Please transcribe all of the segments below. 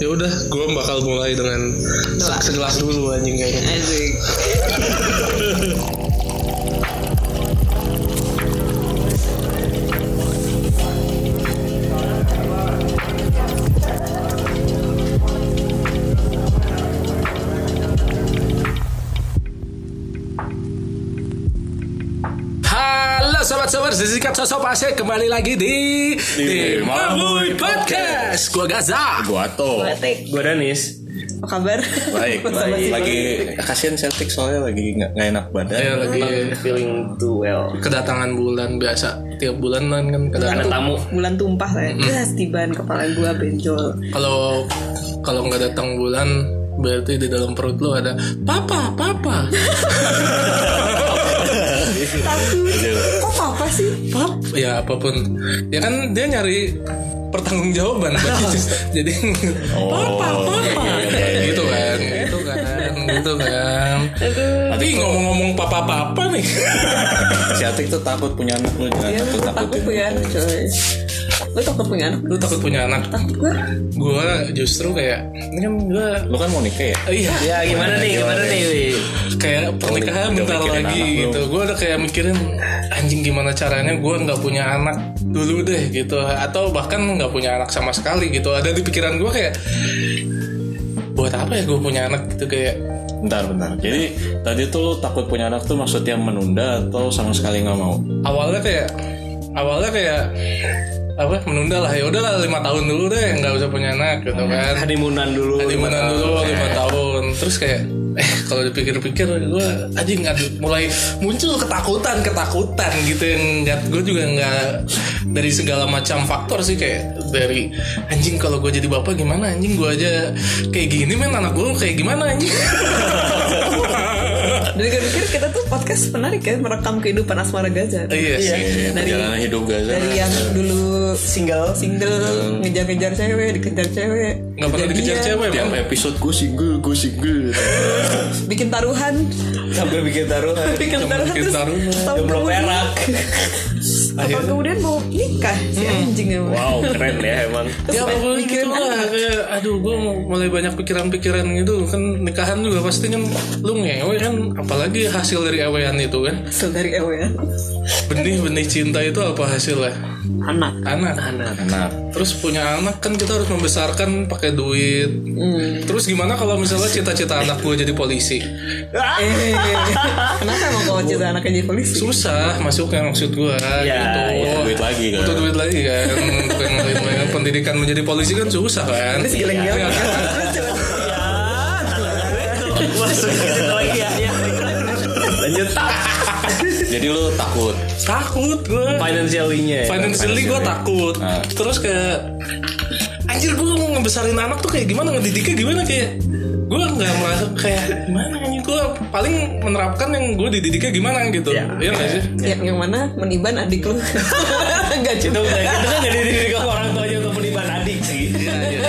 ya udah gue bakal mulai dengan Doa. segelas dulu anjing kayaknya Asik. Halo sobat-sobat sisikat sosok pasir kembali lagi di Di Mabuy Podcast. Gua Gaza. Gua Ato Batik. gue Danis Apa kabar? Baik, Sama baik. si Lagi Batik. kasihan Celtic soalnya lagi nggak nggak enak badan. ya lagi feeling too well kedatangan bulan biasa tiap bulan kan kan Bulan kedatangan Ada tum- tamu. Bulan tumpah saya. Gas tiban kepala gua benjol. kalau kalau nggak datang bulan berarti di dalam perut lo ada papa papa Takut. Kok apa sih? pap ya apapun ya kan dia nyari pertanggungjawaban jadi papa papa iya, iya, gitu kan gitu kan gitu kan tapi ngomong-ngomong papa papa nih Celtic tuh takut punya anak lu jangan Ya, takut gua takutin. takut punya anak coy. Lu takut punya anak? lu takut punya anak Takut gua. gue justru kayak ini kan gue Lu kan mau nikah ya? iya ya gimana nih gimana nih Wi? kayak pernikahan Udah bentar mikirin lagi anak lu. gitu gue udah kayak mikirin anjing gimana caranya gue nggak punya anak dulu deh gitu atau bahkan nggak punya anak sama sekali gitu ada di pikiran gue kayak buat apa ya gue punya anak gitu kayak Bentar, bentar. Jadi tadi tuh lu takut punya anak tuh maksudnya menunda atau sama sekali nggak mau? awalnya kayak awalnya kayak apa menunda lah ya udahlah lima tahun dulu deh nggak usah punya anak gitu kan honeymoonan dulu lima tahun dulu lima tahun terus kayak eh kalau dipikir-pikir gue anjing nggak mulai muncul ketakutan ketakutan gitu yang nggak gue juga nggak dari segala macam faktor sih kayak dari anjing kalau gue jadi bapak gimana anjing gue aja kayak gini men anak gue kayak gimana anjing Dari gua pikir kita tuh podcast menarik ya merekam kehidupan asmara Gaza. Iya sih. Iya, Dari- perjalanan hidup Gaza. Dari yang dulu single single ngejar-ngejar cewek dikejar cewek nggak pernah dikejar kejadian, cewek Tiap Bang. episode gue single, gue single. bikin taruhan sampai bikin taruhan bikin taruhan bikin terus taruhan. tahun Jomblo kemudian perak tahun kemudian mau nikah si anjing emang wow keren ya emang Terus kan Ya pokoknya gitu mikirin lah anak. kayak aduh gue mulai banyak pikiran-pikiran gitu kan nikahan juga pasti kan lu ngewe kan apalagi hasil dari ewean itu kan Hasil dari ewe ya benih-benih cinta itu apa hasilnya anak anak anak Nah, terus punya anak kan kita harus membesarkan pakai duit Hmm. terus gimana kalau misalnya cita-cita anak gue jadi polisi eh kenapa emang kalau cerita anaknya jadi polisi susah masuknya maksud gue Iya, gitu butuh duit lagi kan? butuh duit lagi kan Untuk yang lain-lain. pendidikan menjadi polisi kan susah kan terus geleng-geleng Iya. masuk ke situ lagi ya ya. lanjut Jadi lu takut. takut gue financially-nya ya. financially gue takut Ah. terus kayak anjir gue mau ngebesarin anak tuh kayak gimana ngedidiknya gimana kayak gue nggak merasa kayak gimana anjir gue paling menerapkan yang gue dididiknya gimana gitu Ya. iya nggak sih Ya, yang mana meniban adik lu Enggak itu juga itu kan jadi diri kamu orang tuanya untuk meniban adik sih Iya,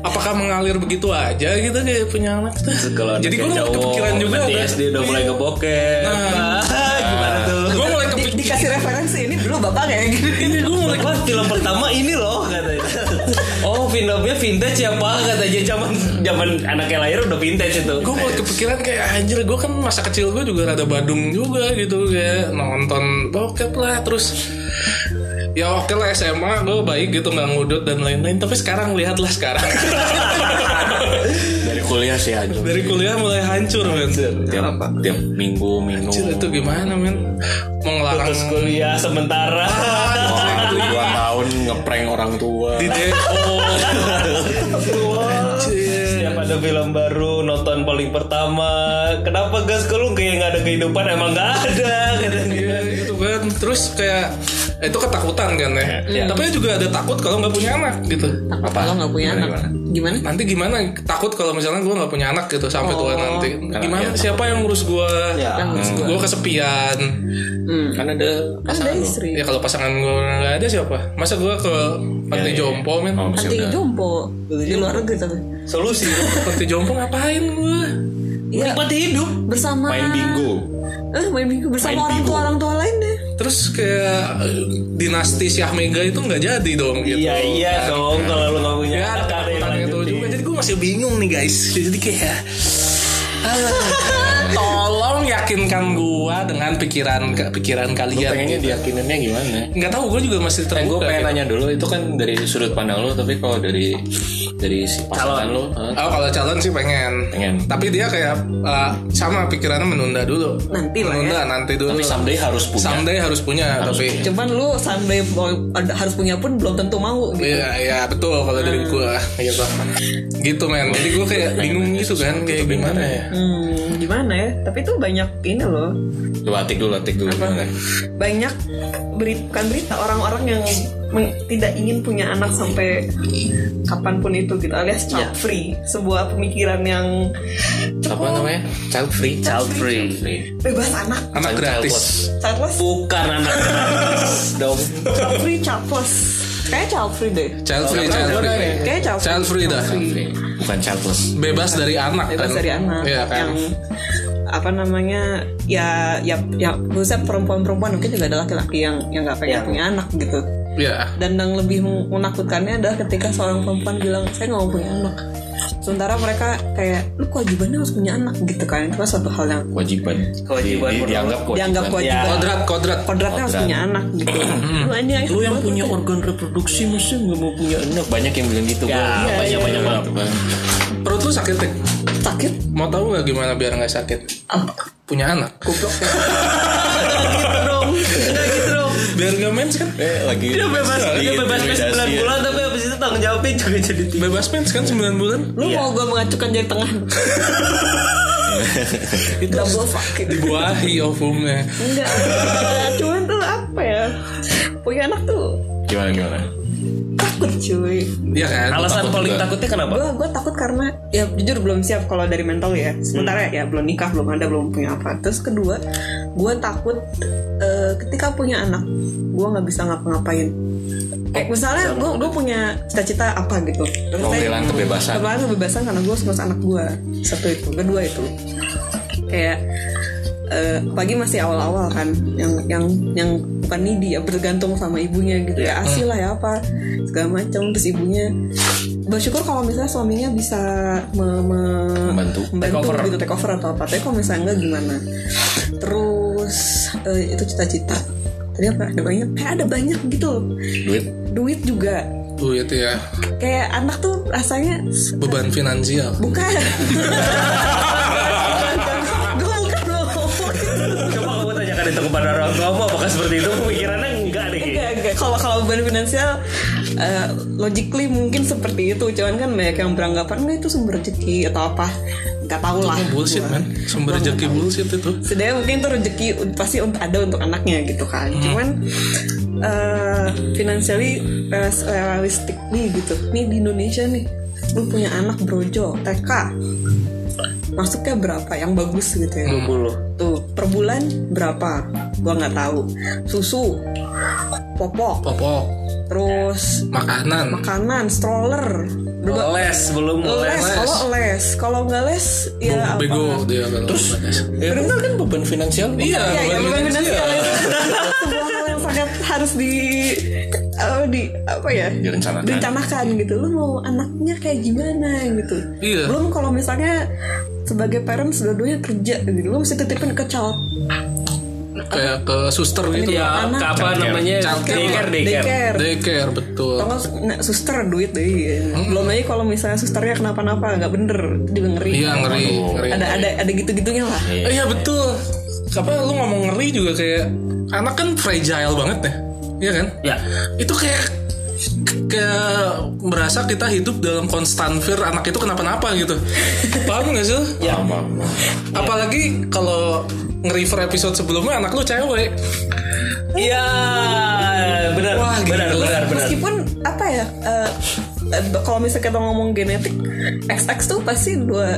apakah mengalir begitu aja gitu kayak punya anak tuh jadi gue mulai kepikiran juga berarti ya, udah. SD udah mulai keboket Nah. Ah, gimana tuh gue mulai Di- kepikiran dikasih referensi ini dulu bapak kayak gini gue mulai kelas film pertama ini loh katanya. Oh, filmnya vintage ya pak katanya zaman zaman anaknya lahir udah vintage itu. gue mulai kepikiran kayak anjir gue kan masa kecil gue juga rada badung juga gitu kayak nonton bokep lah terus ya oke lah SMA gue baik gitu nggak ngudut dan lain-lain tapi sekarang lihatlah sekarang Dari kuliah sih aja. dari kuliah mulai hancur men Tiap, tiap minggu minum. anjir itu gimana men mau ngelarang Terus kuliah sementara. Wah, dua tahun ngeprank orang tua. di DO Setiap ada film baru nonton paling pertama. Kenapa gas kalau kayak nggak ada kehidupan emang nggak ada katanya. Iya, gitu kan terus kayak itu ketakutan kan ya tapi juga ada takut kalau nggak punya anak gitu Apa? Kalau nggak punya anak Gimana? nanti gimana takut kalau misalnya gue nggak punya anak gitu sampai tua Oh. nanti gimana iya, siapa yang ngurus gue Yang harus gua gue kesepian Hmm. Kan ada Ada istri ya kalau pasangan gue nggak ada siapa masa gue ke Iya, panti jompo men Oh, masih Nanti udah. jompo Di luar negeri tapi Solusi panti jompo ngapain gue Iya Nikmati hidup. bersama Main bingo. Eh, main bingo bersama orang tua orang tua lain deh. terus kayak eh, dinasti Syah Mega itu nggak jadi dong gitu Iya iya dong kalau lu nggak punya Ya, anak ada yang ada masih bingung nih guys jadi kayak ah, tolong yakinkan gua dengan pikiran pikiran kalian pengennya diyakininnya gimana nggak tahu gue juga masih gue terbuka pengen gitu. nanya dulu itu kan dari sudut pandang lo tapi kalau dari dari si pasangan lo eh, Oh kalau calon sih pengen Pengen. Tapi dia kayak eh, Sama pikirannya menunda dulu Nanti lah ya. Menunda nanti dulu tapi someday harus punya Someday harus punya Tapi Cuman lu someday mau- ada- harus punya pun belum tentu mau gitu. Iya, iya betul kalau dari gua gitu. Gitu men. Jadi gua kayak bingung gitu kan kayak gimana ya. Hmm, gimana ya? Tapi tuh banyak ini loh. Coba atik dulu atik dulu Banyak beri- bukan berita orang-orang yang men- tidak ingin punya anak sampai kapanpun itu gitu alias child free sebuah pemikiran yang apa namanya child free Child free. bebas anak Anak gratis. childless Bukan anak dong. child free childless kayak child free deh Child free, child free. kayak child free, Child free dah. bukan childless Bebas dari anak bebas kan. dari anak Iya kan. yang apa namanya ya ya ya khususnya perempuan-perempuan mungkin juga ada laki-laki yang yang nggak pengen punya anak gitu Iya. dan yang lebih menakutkannya adalah ketika seorang perempuan bilang saya nggak mau punya anak sementara mereka kayak lu kewajibannya harus punya anak gitu kan itu kan suatu hal yang kewajiban Kewajiban Iya. Di- di- perlu. dianggap kewajiban ya. dianggap kewajiban Kodrat, kodrat. kodratnya harus punya anak gitu lu ini aja lu yang punya organ reproduksi mesti nggak mau punya anak banyak gitu, yang bilang gitu Ya, banyak banyak banget. Bang. Perut lu sakit Tik? sakit Mau tahu nggak gimana biar nggak sakit? apa Punya anak. Ah, goblok ya gitu dong Nggak gitu dong Biar nggak mens kan? eh lagi Dia bebas, dia bebas Intimidasi. 9 bulan ya. tapi habis itu tanggung jawabnya juga jadi tinggi. Bebas mens kan 9 bulan? lu mau gue mengacukan jari tengah itu double fucking Dibuahi ovumnya. enggak cuman tuh apa ya punya anak tuh gimana gimana takut cuy Iya kan? Alasan Takut paling juga. takutnya kenapa? gue gue takut karena ya jujur belum siap kalau dari mental ya sementara ya belum nikah belum ada belum punya apa terus kedua gue takut eh, ketika punya anak gue nggak bisa ngapa-ngapain kayak misalnya gue gue punya cita-cita apa gitu terus saya- Pembelaan kebebasan. pembelaan kebebasan karena gue harus ngurus anak gue satu itu kedua itu kayak eh, pagi masih awal-awal kan yang yang yang bukan nidi ya bergantung sama ibunya gitu ya asih lah ya apa segala macam terus ibunya bersyukur kalau misalnya suaminya bisa me- me- Membantu. membantu Take over. gitu take over atau apa tapi kalau misalnya enggak gimana terus eh, itu cita-cita tadi apa ada banyak kayak ada banyak gitu loh. duit duit juga Duit ya. kayak anak tuh rasanya Beban finansial. bukan gue bukan loh Coba kamu tanyakan itu kepada orang tuamu apakah seperti itu pemikirannya enggak deh. Ki. Enggak, enggak. Kalau kalau beban finansial, eh, logically mungkin seperti itu. Cuman kan banyak yang beranggapan enggak itu sumber rezeki atau apa. Enggak tahu lah. Bullshit gua. man. Sumber rezeki bullshit itu. Sebenarnya mungkin itu rezeki un- pasti untuk ada untuk anaknya gitu kan. Cuman eh financially res- realistic nih gitu. Nih di Indonesia nih, lu punya anak brojo TK masuknya berapa yang bagus gitu ya Bulu. tuh per bulan berapa gua nggak tahu susu popok Popok. terus Makanan. makanan stroller berba- Les belum les. les kalau les kalau nggak les ya apa bego dia kalau terus ya benar kan beban finansial iya ya, ya, beban beban finansial. finansial itu sebuah hal yang sangat harus di eh, di apa ya Direncanakan. direncanakan gitu lu mau anaknya kayak gimana gitu Iya. belum kalau misalnya sebagai parents dua-duanya kerja gitu lu mesti titipin ke child kayak ke suster gitu Ya, ya Anak. ke apa namanya? Childcare. Daycare, daycare. daycare daycare betul Atau nggak, nah, suster duit deh belum lagi kalau misalnya susternya kenapa-napa nggak bener itu juga ngeri iya ngeri Aduh. ngeri ada ada ada gitu-gitunya lah Eh, iya betul apa lu ngomong ngeri juga kayak anak kan fragile banget ya iya kan Ya. itu kayak kayak berasa kita hidup dalam konstan fear anak itu kenapa-napa gitu paham gak sih lu? iya. ya mama apalagi kalau nge-refer episode sebelumnya anak lu cewek Iya, benar. Wah, gila. Benar, benar, benar. meskipun apa ya eh, eh, kalau misalnya kita ngomong genetik XX tuh pasti dua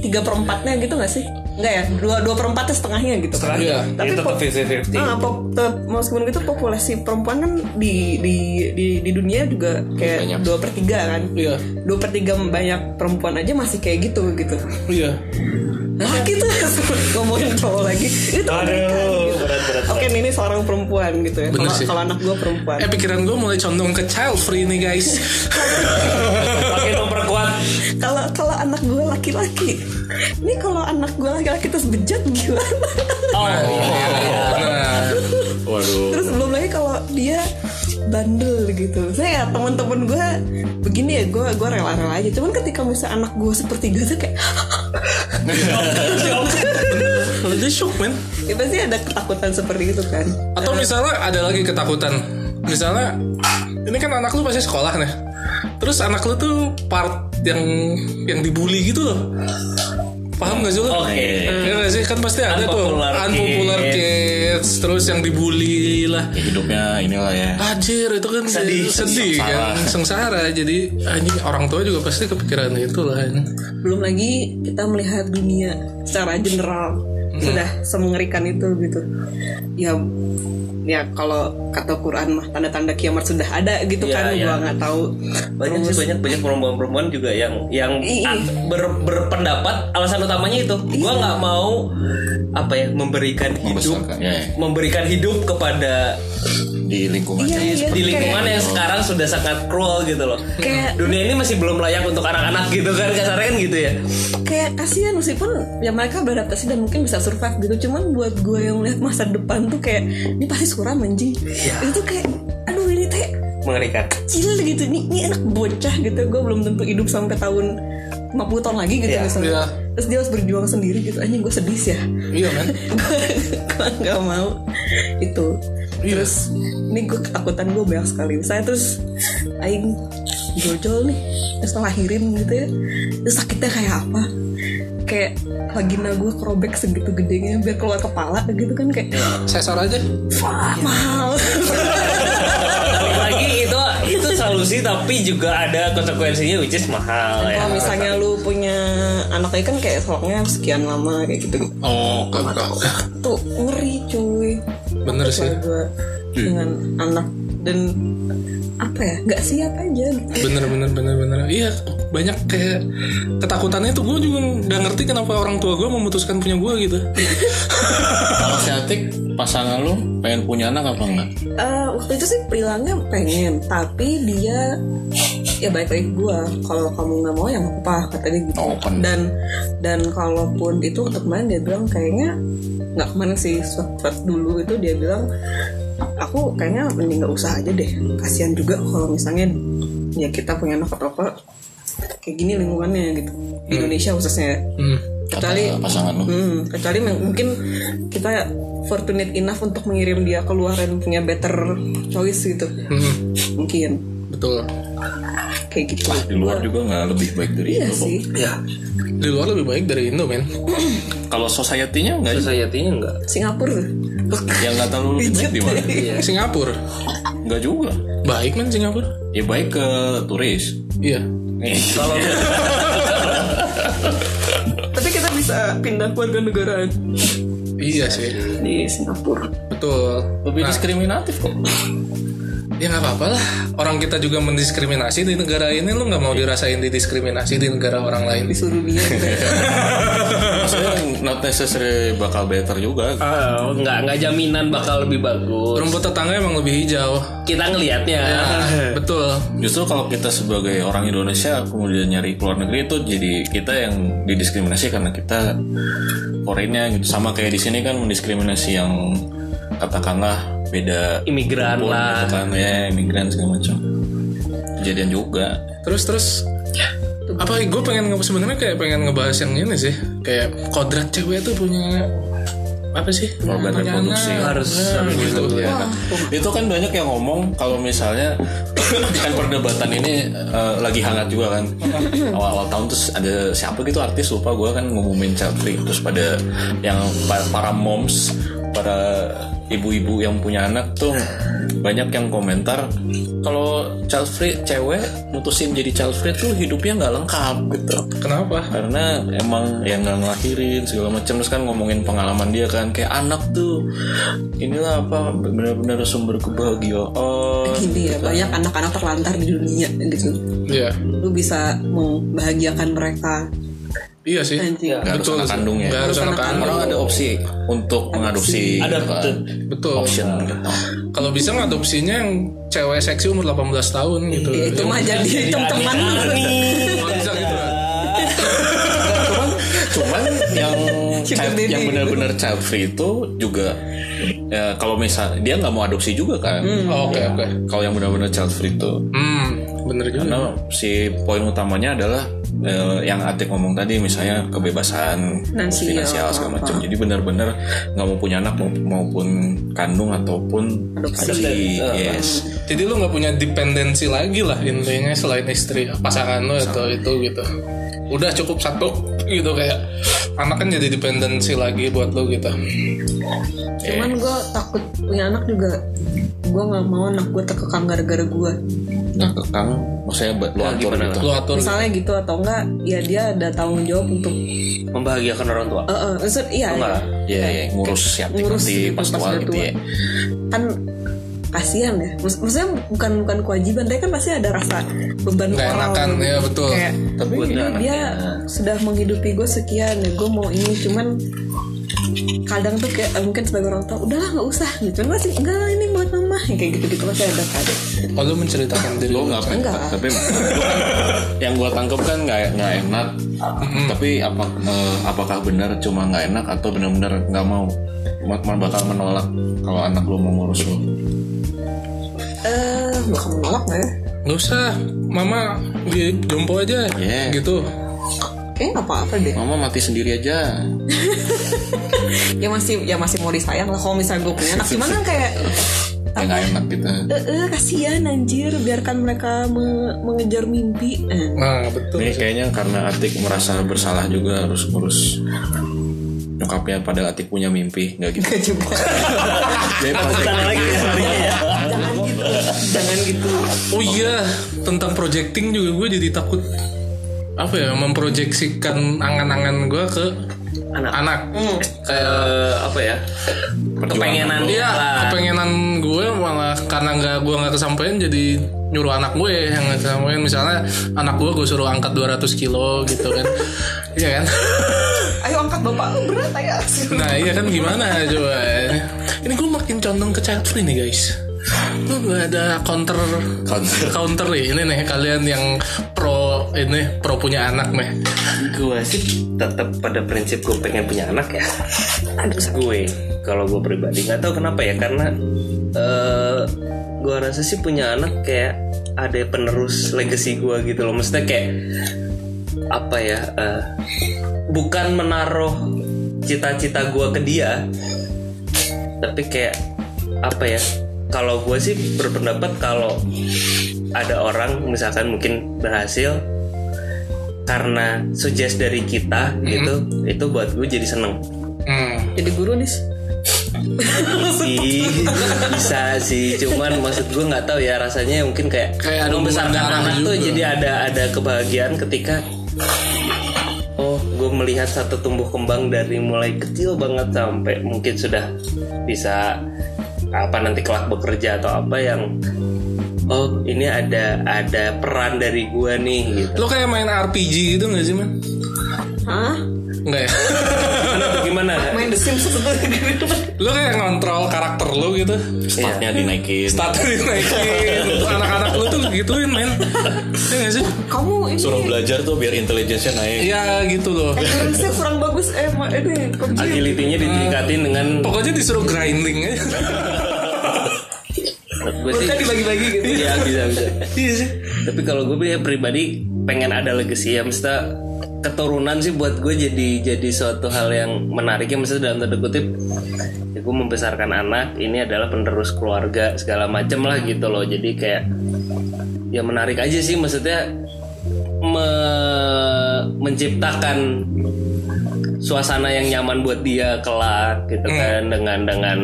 tiga perempatnya gitu nggak sih nggak ya dua dua perempatnya setengahnya gitu kan Iya. tapi Itu tetap po- 50-50. Ah, po- te- meskipun gitu populasi perempuan kan di di di, di dunia juga Banyak. kayak dua per tiga kan iya dua per tiga banyak perempuan aja masih kayak gitu gitu iya Nah, kita ngomongin cowok lagi. Itu kan gitu. Aduh, berat, berat. Oke, nih, ini seorang perempuan gitu ya. Bener Kalau sih. kalau anak gue perempuan. Eh pikiran gue mulai condong ke child free nih guys Makin memperkuat Kalau laki-laki ini kalau anak gue laki-laki terus bejat gimana Nah, iya, nah, Waduh. terus belum lagi kalau dia bandel gitu saya ya teman-teman gue begini ya gue gue rela-rela aja cuman ketika misalnya anak gue sepertiga tuh kayak Nah, Lu jadi shock men ya pasti ada ketakutan seperti itu kan Atau misalnya ada lagi ketakutan Misalnya Ini kan anak lu pasti sekolah nih Terus anak lu tuh part yang yang dibully gitu loh Paham gak sih lu? Oke. Ya nggak sih? Kan pasti ada tuh Unpopular Unpopular kids. kids Terus yang dibully lah Ya, hidupnya inilah ya. Anjir itu kan Sedih. sedih kan Sengsara Jadi anjing orang tua juga pasti kepikiran itu lah belum lagi kita melihat dunia secara general Mm-hmm. sudah semengerikan itu gitu ya ya kalau kata Quran mah tanda-tanda kiamat sudah ada gitu Iya, kan iya. gua nggak tahu banyak sih banyak banyak perempuan-perempuan juga yang yang Ih, ih. at- ber- berpendapat alasan utamanya itu gua nggak mau apa ya memberikan hidup Membesarkan, ya, ya. memberikan hidup kepada Di lingkungan. iya iya di lingkungan kayak, yang sekarang sudah sangat cruel gitu loh Kayak- dunia ini masih belum layak untuk anak-anak gitu kan kasarnya kan gitu ya kayak kasihan meskipun ya mereka beradaptasi dan mungkin bisa survive gitu cuman buat gue yang melihat masa depan tuh kayak ini pasti suram anjing itu kayak aduh ini teh mengerikan kecil gitu ini, ini anak bocah gitu gue belum tentu hidup sampai tahun 50 tahun lagi gitu Iya. misalnya Iya. terus dia harus berjuang sendiri gitu anjing gue sedih sih ya Iya kan? gue nggak mau itu Iya. terus ini gue ketakutan gue banyak sekali saya terus aing jojol nih terus lahirin gitu ya terus sakitnya kayak apa kayak vagina gue kerobek segitu gedenya biar keluar kepala gitu kan kayak Iya. Sesor aja wah mahal lagi itu itu solusi tapi juga ada konsekuensinya which is mahal ya kalau misalnya lu punya anaknya kan kayak seloknya sekian lama kayak gitu Oh oke, oke, oke. tuh ngeri cuy Bener sih gue dengan anak dan apa ya nggak siap aja gitu bener bener bener bener iya banyak kayak ketakutannya tuh gue juga nggak ngerti kenapa orang tua gue memutuskan punya gue gitu Kalau si Atik, pasangan lu pengen punya anak apa enggak? Eh, waktu itu sih bilangnya pengen tapi dia ya baik lagi gue kalau kamu nggak mau ya nggak apa katanya gitu Open. dan dan kalaupun itu untuk kemarin dia bilang kayaknya nggak kemarin sih sempat dulu itu dia bilang aku kayaknya mending nggak usah aja deh kasihan juga kalau misalnya ya kita punya anak atau apa kayak gini lingkungannya gitu di Indonesia khususnya hmm. Kata kecuali pasangan lu. Hmm, kecuali meng- mungkin kita fortunate enough untuk mengirim dia keluar dan punya better choice gitu. hmm, Mungkin betul kayak gitu. Di luar juga nggak lebih baik dari itu. Iya Bob. sih. ya di luar lebih baik dari Indo men Kalau society-nya enggak sih? society-nya enggak Singapura tuh. Iya. Yang nggak terlalu lebih baik di ya. mana? Iya. Singapura Enggak juga. baik men Singapura Ya baik ke turis. iya kalau Tapi kita bisa pindah warga negaraan iya sih di Singapura. betul Lebih Nah, diskriminatif kok. ya nggak apa-apa lah orang kita juga mendiskriminasi di negara ini lu nggak mau dirasain didiskriminasi di negara orang lain Disuruh dia. gitu. Maksudnya not necessary bakal better juga. Ah, nggak nggak jaminan bakal lebih bagus rumput tetangga emang lebih hijau kita ngelihatnya Nah, betul Justru kalau kita sebagai orang Indonesia kemudian nyari ke luar negeri itu jadi kita yang didiskriminasi karena kita foreignnya gitu. Sama kayak di sini kan mendiskriminasi yang katakanlah beda imigran Impor lah gitu kan ya imigran segala macam kejadian juga terus terus Ya. apa gue pengen nge- sebenarnya kayak pengen ngebahas yang ini sih kayak kodrat cewek tuh punya apa sih Organ Punya reproduksi. anak. Harus- Nah, harus gitu ya kan? itu kan banyak yang ngomong kalau misalnya kan perdebatan ini eh, lagi hangat juga kan awal-awal tahun terus ada siapa gitu artis lupa gue kan ngumumin childfree terus pada yang pa- para moms para ibu-ibu yang punya anak tuh banyak yang komentar kalau child free cewek mutusin jadi child free tuh hidupnya nggak lengkap gitu kenapa karena emang yang nggak ngelahirin segala macam terus kan ngomongin pengalaman dia kan kayak anak tuh inilah apa benar-benar sumber kebahagiaan Gini ya, banyak anak-anak terlantar di dunia gitu. iya Lu bisa membahagiakan mereka. iya sih Anjing. Nggak harus Betul anak sih. kandung ya Nggak harus anak kandung orang ada opsi untuk mengadopsi Ada gitu kan. betul. betul option gitu. kalau bisa ngadopsinya yang cewek seksi umur 18 tahun Iya. gitu Ya, itu mah jadi cem-ceman lu. Kalau bisa gitu kan. Tuh, cuman yang Sugar cap- daddy. yang benar-benar child free itu juga ya, kalau misal dia nggak mau adopsi juga kan Oh, Oke oke. kalau yang benar-benar child free itu Hmm, bener juga. Karena si poin utamanya adalah eh, yang Atik ngomong tadi misalnya kebebasan Finansial, finansial segala macam. Jadi benar-benar nggak mau punya anak mau- maupun kandung ataupun Adopsi. adopsi. Yes. Jadi lu nggak punya dependensi lagi lah intinya selain istri pasangan lu atau itu gitu. Udah cukup satu gitu kayak anak kan jadi dependensi lagi buat lu gitu. Cuman gue takut punya anak juga Gue gak mau anak gue terkekang gara-gara gue Nah, kekang maksudnya ba- lu atur gitu. Lu atur. Misalnya gitu atau enggak Ya dia ada tanggung jawab untuk membahagiakan orang tua Eh, eh, maksud- Iya Enggak. Iya, iya, ngurus siap ngurus nanti gitu pas pas tua udah gitu tua. ya. Kan kasihan ya Maksud- Maksudnya bukan bukan kewajiban Tapi kan pasti ada rasa beban Nggak moral enakan gitu. ya betul. Kayak Tapi "Ini dia sudah menghidupi gue sekian ya gue mau ini cuman kadang tuh kayak eh, mungkin sebagai orang tua udahlah nggak usah gitu kan masih enggak lah, ini buat mama Ya, kayak gitu gitu pasti ada kan Oh lu menceritakan diri lo lu. nggak pengen Enggak. tapi lu kan- yang gua tangkap kan nggak nggak enak tapi apa eh, apakah benar cuma nggak enak atau benar-benar nggak mau Cuma- cuma bakal menolak kalau anak lu mau ngurus lu eh bakal menolak nggak ya Nggak usah, mama di jompo aja Iya. gitu. kayak nggak apa-apa deh mama mati sendiri aja ya masih ya masih mau disayang lah kalau misalnya gue punya anak cuman kan kayak ya nggak enak gitu eh eh, kasihan anjir biarkan mereka me- mengejar mimpi Eh, Nah betul. ini kayaknya karena Atik merasa bersalah juga harus ngurus nyokapnya pada Atik punya mimpi nggak gitu nggak juga jadi pasti Tanah lagi ya sebenarnya ya. jangan gitu jangan gitu Oh iya, tentang projecting juga gue jadi takut apa ya memproyeksikan angan-angan gue ke Anak. anak. Hmm. Kayak Eh, apa ya kepengenan iya, lah. kepengenan gue malah karena nggak gue nggak kesampaian jadi nyuruh anak gue yang nggak kesampaian misalnya anak gue gue suruh angkat 200 kilo gitu kan iya kan ayo angkat bapak lu berat ayo nah iya kan gimana coba ini gue makin condong ke child free nih guys lu nggak ada counter Counter. counter nih ini nih kalian yang pro ini pro punya anak nih gue sih tetap pada prinsip gue pengen punya anak ya gue kalau gue pribadi nggak tahu kenapa ya karena eh gue rasa sih punya anak kayak ada penerus legacy gue gitu loh maksudnya kayak apa ya eh, bukan menaruh cita-cita gue ke dia tapi kayak apa ya kalau gue sih berpendapat kalau ada orang misalkan mungkin berhasil karena suggest dari kita gitu itu buat gue jadi seneng hmm. jadi guru nih Ih, bisa sih cuman maksud gue nggak tahu ya rasanya mungkin kayak Kayak ada membesarkan hubungan darah anak tuh juga. jadi ada ada kebahagiaan ketika oh gue melihat satu tumbuh kembang dari mulai kecil banget sampai mungkin sudah bisa apa nanti kelak bekerja atau apa yang oh ini ada ada peran dari gue nih gitu lo kayak main RPG gitu gak sih man Hah? Enggak ya Atau gimana Main The Sims itu lo kayak ngontrol karakter lo gitu statnya dinaikin status naikin anak-anak lo tuh gituin men Iya gak sih Kamu ini suruh belajar tuh biar intelijensinya naik ya gitu loh Accuracy kurang bagus Eh ma- ini PUBG agility-nya ditingkatin dengan pokoknya disuruh grinding aja gue sih Bukan dibagi-bagi gitu Iya bisa bisa. iya sih Tapi kalau gue ya pribadi pengen ada legacy ya, maksudnya keturunan sih buat gue jadi jadi suatu hal yang menarik ya, maksudnya dalam tanda kutip ya gue membesarkan anak ini adalah penerus keluarga segala macem lah gitu loh. Jadi kayak ya menarik aja sih maksudnya me- menciptakan suasana yang nyaman buat dia kelak gitu kan dengan dengan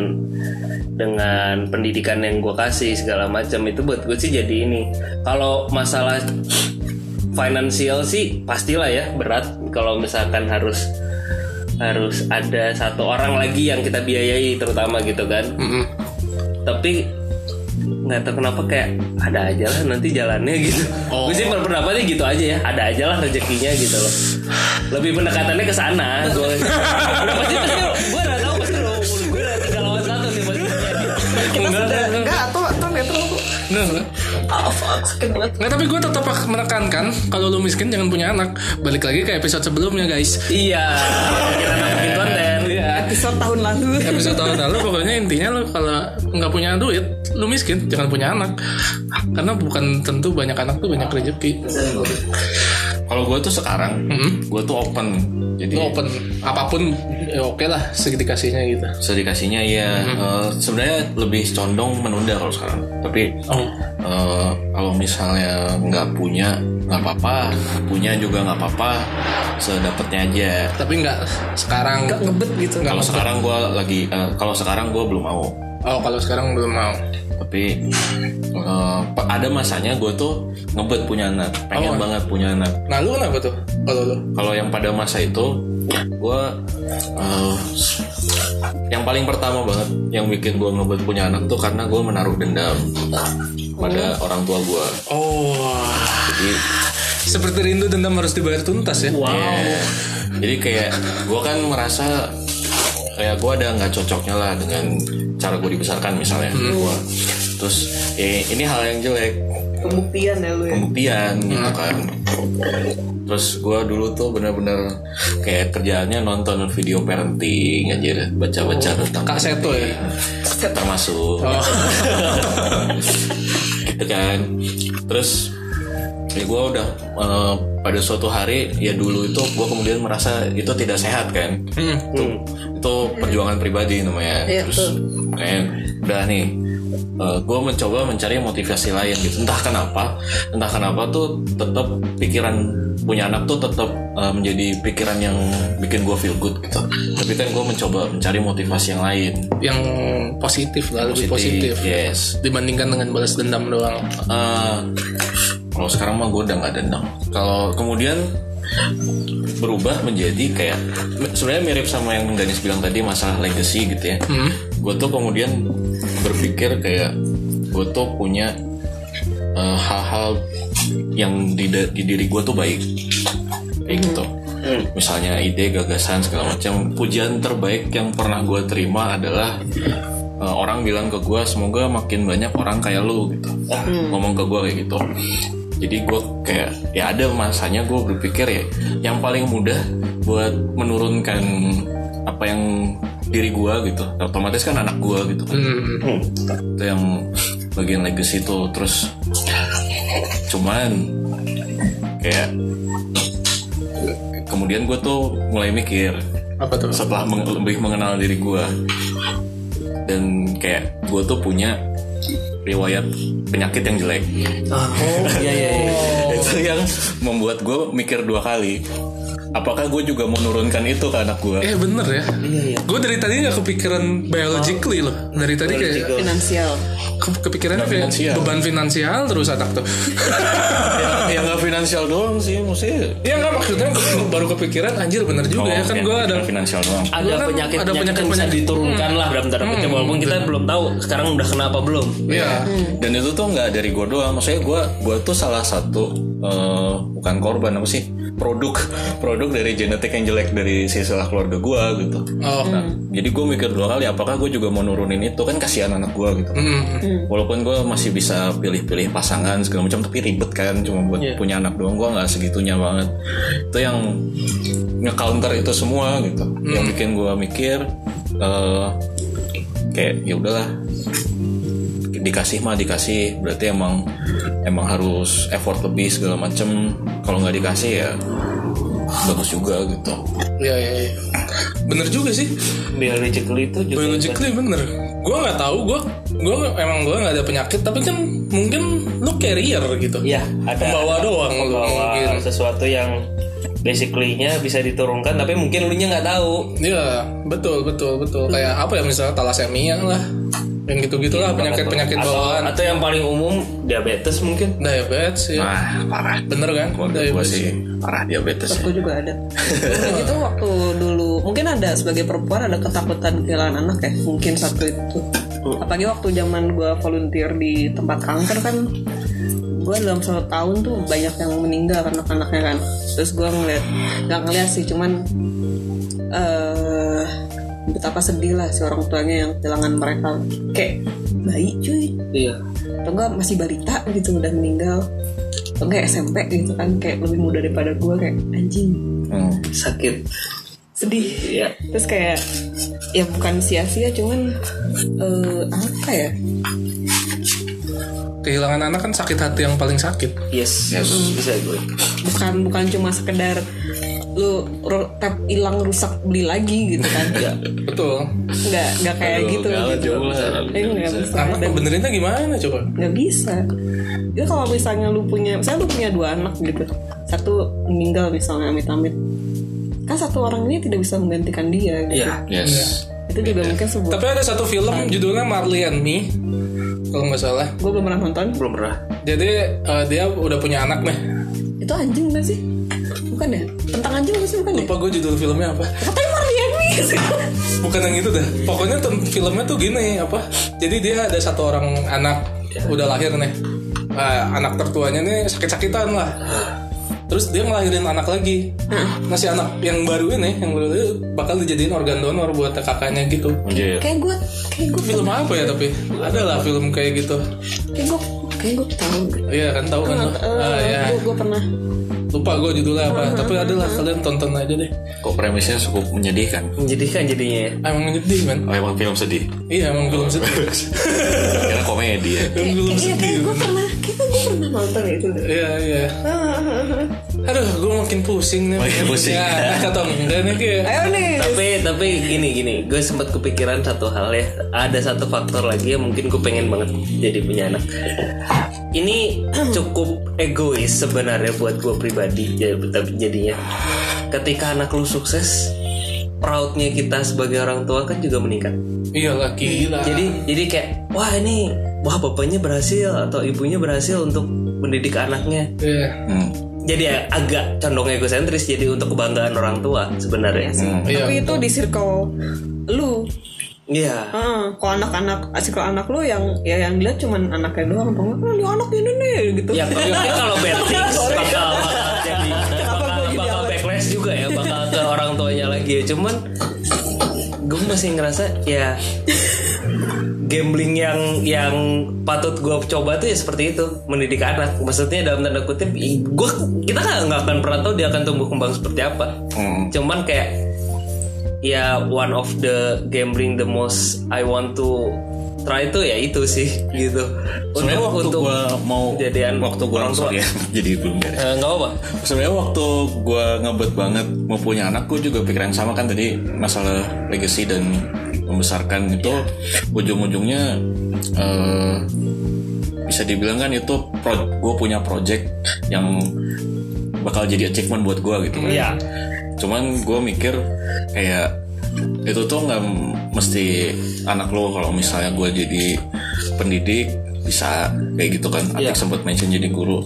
dengan pendidikan yang gue kasih segala macam itu buat gue sih jadi ini kalau masalah finansial sih pastilah ya berat kalau misalkan harus harus ada satu orang lagi yang kita biayai terutama gitu kan Mm-mm. tapi nggak tahu kenapa kayak ada aja lah nanti jalannya gitu Oh. gue sih pendapatnya gitu aja ya ada aja lah rezekinya gitu loh lebih pendekatannya ke sana gue udah pasti pasti gue udah tahu pasti lo gue udah tiga lawan satu sih pasti Enggak atau atau netral kok Bener, kan? Ah, fuck, sakit banget. Nggak, tapi gue tetap menekankan kalau lu miskin jangan punya anak. Balik lagi ke episode sebelumnya guys. Iya. Kita nggak bikin konten. Iya. Episode tahun lalu. Episode tahun lalu pokoknya intinya lu kalau nggak punya duit, lu miskin jangan punya anak. Karena bukan tentu banyak anak tuh banyak rezeki. Kalau gue tuh sekarang, gue tuh open. Jadi Lu open apapun ya oke lah segitiga kasihnya gitu. sedikasinya ya Mhm. eh, sebenarnya lebih condong menunda kalau sekarang. Tapi Oh, eh, kalau misalnya nggak punya nggak apa-apa, punya juga nggak apa-apa, sedapatnya aja. tapi nggak sekarang. Gak ngebet gitu. Kalau sekarang gue lagi, eh, kalau sekarang gue belum mau. Oh, kalau sekarang belum mau. Tapi eh, pe- ada masanya gue tuh ngebet punya anak, Oh. pengen banget punya anak. Nah, lu kenapa tuh? Kalau lu kalau yang pada masa itu gue yang paling pertama banget yang bikin gue ngebet punya anak tuh karena gue menaruh dendam pada orang tua gue Oh, seperti rindu dendam harus dibayar tuntas ya. eh, jadi kayak gue kan merasa kayak gue ada nggak cocoknya lah dengan cara gue dibesarkan misalnya gua. terus ya, ini hal yang jelek Pembuktian ya lu ya. pembuktian gitu kan terus gue dulu tuh bener-bener kayak kerjaannya nonton video parenting aja baca-baca tentang Kak Seto ya. termasuk Oh. gitu kan terus ya gue udah eh, pada suatu hari ya dulu itu gue kemudian merasa itu tidak sehat kan Hmm. itu perjuangan pribadi namanya Iya, terus kayak udah nih gue mencoba mencari motivasi lain gitu entah kenapa entah kenapa tuh tetap pikiran punya anak tuh tetap eh, menjadi pikiran yang bikin gue feel good gitu tapi kan gue mencoba mencari motivasi yang lain yang positif lah lebih positif yes dibandingkan dengan balas dendam doang Eh, kalau sekarang mah gue udah nggak dendam kalau kemudian berubah menjadi kayak sebenarnya mirip sama yang Ganis bilang tadi masalah legacy gitu ya gue tuh kemudian berpikir kayak gue tuh punya eh, hal-hal yang di, da- di diri gue tuh baik kayak gitu misalnya ide gagasan segala macam pujian terbaik yang pernah gue terima adalah eh, orang bilang ke gue semoga makin banyak orang kayak lu gitu ngomong ke gue kayak gitu jadi gue kayak ya ada masanya gue berpikir ya yang paling mudah buat menurunkan apa yang diri gue gitu otomatis kan anak gue gitu kan hmm. itu yang bagian legacy itu terus cuman kayak kemudian gue tuh mulai mikir apa tuh setelah meng- lebih mengenal diri gue dan kayak gue tuh punya riwayat penyakit yang jelek Iya iya. iya. Oh. itu yang membuat gue mikir dua kali apakah gue juga mau nurunkan itu ke anak gue eh bener ya gue dari tadi nggak kepikiran biologically loh dari tadi kayak Finansial. ke- kepikirannya kayak finansial. beban finansial terus anak tuh ya nggak finansial doang sih mesti ya nggak maksudnya gue baru kepikiran anjir bener juga ya kan gue ada finansial doang Gua Ada kan ada penyakit, ada penyakit yang bisa penyakit-penyakit. Hmm. diturunkan lah dalam tanda kutip walaupun kita belum tahu sekarang udah kenapa belum. ya dan itu tuh nggak dari gue doang maksudnya gue gue tuh salah satu eh, bukan korban apa sih produk produk dari genetik yang jelek dari sisilah keluarga gue gitu oh jadi gue mikir dua kali apakah gue juga mau nurunin itu kan kasihan anak gue gitu Hmm. walaupun gue masih bisa pilih-pilih pasangan segala macam tapi ribet kan cuma buat punya anak doang gue nggak segitunya banget itu yang nge-counter itu semua gitu yang bikin gue mikir eh, kayak ya udahlah dikasih mah dikasih berarti emang emang harus effort lebih segala macem kalau nggak dikasih ya bagus juga gitu ya ya, ya. bener juga sih Biologically itu juga biologically bener gue nggak tahu gue gue emang gue nggak ada penyakit tapi kan mungkin lu carrier gitu Iya, ada Pembawa doang lu Pembawa mungkin. sesuatu yang basically-nya bisa diturunkan tapi mungkin lu nya nggak tahu. Iya, betul, betul, betul. Kayak apa ya misalnya talasemia lah, yang gitu-gitu Iya, lah penyakit-penyakit atau, bawaan. atau yang paling umum diabetes mungkin. Diabetes ya, Nah, ah parah bener kan? keluarga gue Diabetes. sih parah diabetes Aku juga ada. Nah, itu waktu dulu mungkin ada sebagai perempuan ada ketakutan kehilangan anak ya mungkin satu itu. Apalagi waktu zaman gua volunteer di tempat kanker kan gue dalam satu tahun tuh banyak yang meninggal karena anaknya kan terus gue ngeliat nggak ngeliat sih cuman eh betapa sedih lah si orang tuanya yang kehilangan mereka kayak bayi cuy Iya. atau enggak masih balita gitu udah meninggal atau enggak SMP gitu kan kayak lebih muda daripada gue kayak anjing Hmm. sakit sedih Iya. ya terus kayak ya bukan sia-sia cuman eh, apa ya kehilangan anak kan sakit hati yang paling sakit Iya. yes, yes. bisa gue bukan bukan cuma sekedar lu ru- tap hilang rusak beli lagi gitu kan betul nggak nggak kayak gitu Galak gitu jauh lah. Eh, nggak bisa anak Dan- benerinnya gimana coba nggak bisa itu kalau misalnya lu punya saya lu punya dua anak gitu satu meninggal misalnya amit-amit kan satu orang ini tidak bisa menggantikan dia gitu. Iya. ya Yes. itu juga mungkin sebuah tapi ada satu film judulnya Marley and Me kalau nggak salah gue belum pernah nonton belum pernah jadi eh, dia udah punya anak nih itu anjing nggak sih bukan ya tentang anjing nggak sih bukan ya lupa gue judul filmnya apa katanya Marley and Me sih bukan yang itu dah pokoknya tem- filmnya tuh gini apa jadi dia ada satu orang anak udah lahir nih Eh, anak tertuanya nih sakit-sakitan lah terus dia ngelahirin anak lagi nah si anak yang baru ini yang baru ini bakal dijadiin organ donor buat kakaknya gitu Anjir. kayak gue kayak gue film apa ya tapi ada lah film kayak gitu kayak gue kayak gue tahu iya kan tahu kan lo? Ah, ya. gue pernah lupa gue judulnya apa tapi ada lah kalian tonton aja deh Kok premisnya cukup menyedihkan? menjadikan jadinya ya emang nyedih kan Oh, emang film sedih. iya emang film sedih Kira komedi ya. Emang film Iya, kayak sedih gue pernah kayak gue pernah nonton itu Iya iya. Aduh, gue makin pusing nih. Makin pusing. Ya, atau enggak nih kayak. ayo nih tapi tapi gini gini gue sempat kepikiran satu hal ya ada satu faktor lagi yang mungkin gue pengen banget jadi punya anak ini cukup egois sebenarnya buat gue pribadi ya, tapi jadinya ketika anak lu sukses proudnya kita sebagai orang tua kan juga meningkat Iya lah gila. jadi jadi kayak wah ini wah bapaknya berhasil atau ibunya berhasil untuk mendidik anaknya Iya. Hmm. jadi agak condong egosentris jadi untuk kebanggaan orang tua sebenarnya Iya. tapi itu di circle lu iya Heeh, kalau anak-anak ah, circle anak lu yang ya yang lihat cuman anaknya doang atau enggak "Ah, anak ini nih gitu Iya, Ya kalau kalau bad things bakal bakal jadi Kenapa bakal, gua jadi bakal awet? backlash juga ya bakal ke orang tuanya lagi ya cuman gue masih ngerasa ya gambling yang yang patut gue coba tuh ya seperti itu mendidik anak maksudnya dalam tanda kutip gue kita nggak nggak akan pernah tahu dia akan tumbuh kembang seperti apa Hmm. cuman kayak ya one of the gambling the most I want to try itu ya itu sih gitu Sebenarnya waktu gua mau kejadian waktu gua orang tua. sorry ya, jadi belum beres. Eh, nggak apa Sebenarnya waktu gua ngebet banget mau punya anak gua juga pikiran sama kan tadi masalah legacy dan membesarkan itu ujung-ujungnya eh, bisa dibilang kan itu pro, gue punya project yang bakal jadi achievement buat gua gitu kan. Iya. Cuman gue mikir kayak itu tuh nggak m- mesti anak lo kalau misalnya gue jadi pendidik bisa kayak gitu kan. Atik Iya. sempat mention jadi guru.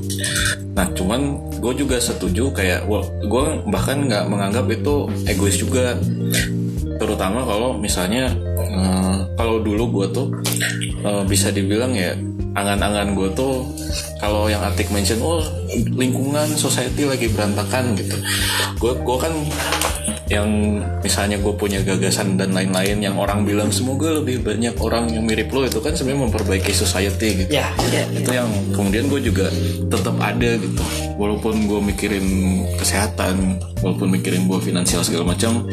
Nah cuman gue juga setuju kayak gue bahkan nggak menganggap itu egois juga. Terutama kalau misalnya eh, kalau dulu gue tuh eh, bisa dibilang ya angan-angan gue tuh kalau yang Atik mention oh lingkungan society lagi berantakan gitu gue gue kan yang misalnya gue punya gagasan dan lain-lain yang orang bilang semoga lebih banyak orang yang mirip lo itu kan sebenarnya memperbaiki society gitu Ya, ya, itu yang kemudian gue juga tetap ada gitu walaupun gue mikirin kesehatan walaupun mikirin gue finansial segala macam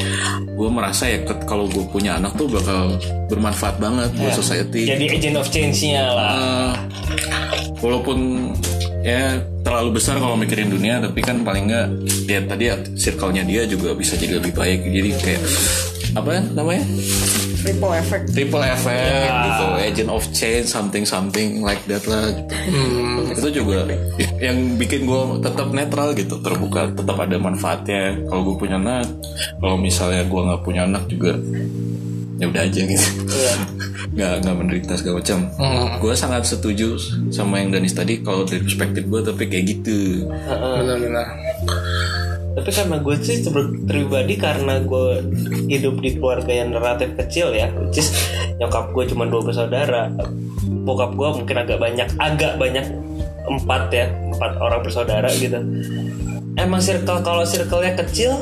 gue merasa ya ket- kalau gue punya anak tuh bakal bermanfaat banget buat society Jadi agent of change-nya lah. Eh, walaupun ya terlalu besar kalau mikirin dunia tapi kan paling nggak ya tadi ya, circle-nya dia juga bisa jadi lebih baik jadi kayak apa namanya ripple effect triple effect Ya. gitu agent of change something something like that lah gitu. Hmm. itu juga yang bikin gue tetap netral gitu terbuka tetap ada manfaatnya kalau gue punya anak kalau misalnya gue nggak punya anak juga ya udah aja gitu Iya. nggak nggak menderita segala macam Hmm. gue sangat setuju sama yang Danis tadi kalau dari perspektif gue tapi kayak gitu Benar-benar. Tapi karena gue sih ter- pribadi karena gue hidup di keluarga yang relatif kecil ya, which is nyokap gue cuma dua bersaudara, bokap gue mungkin agak banyak, agak banyak empat ya, empat orang bersaudara gitu. Emang circle kalau circle-nya kecil,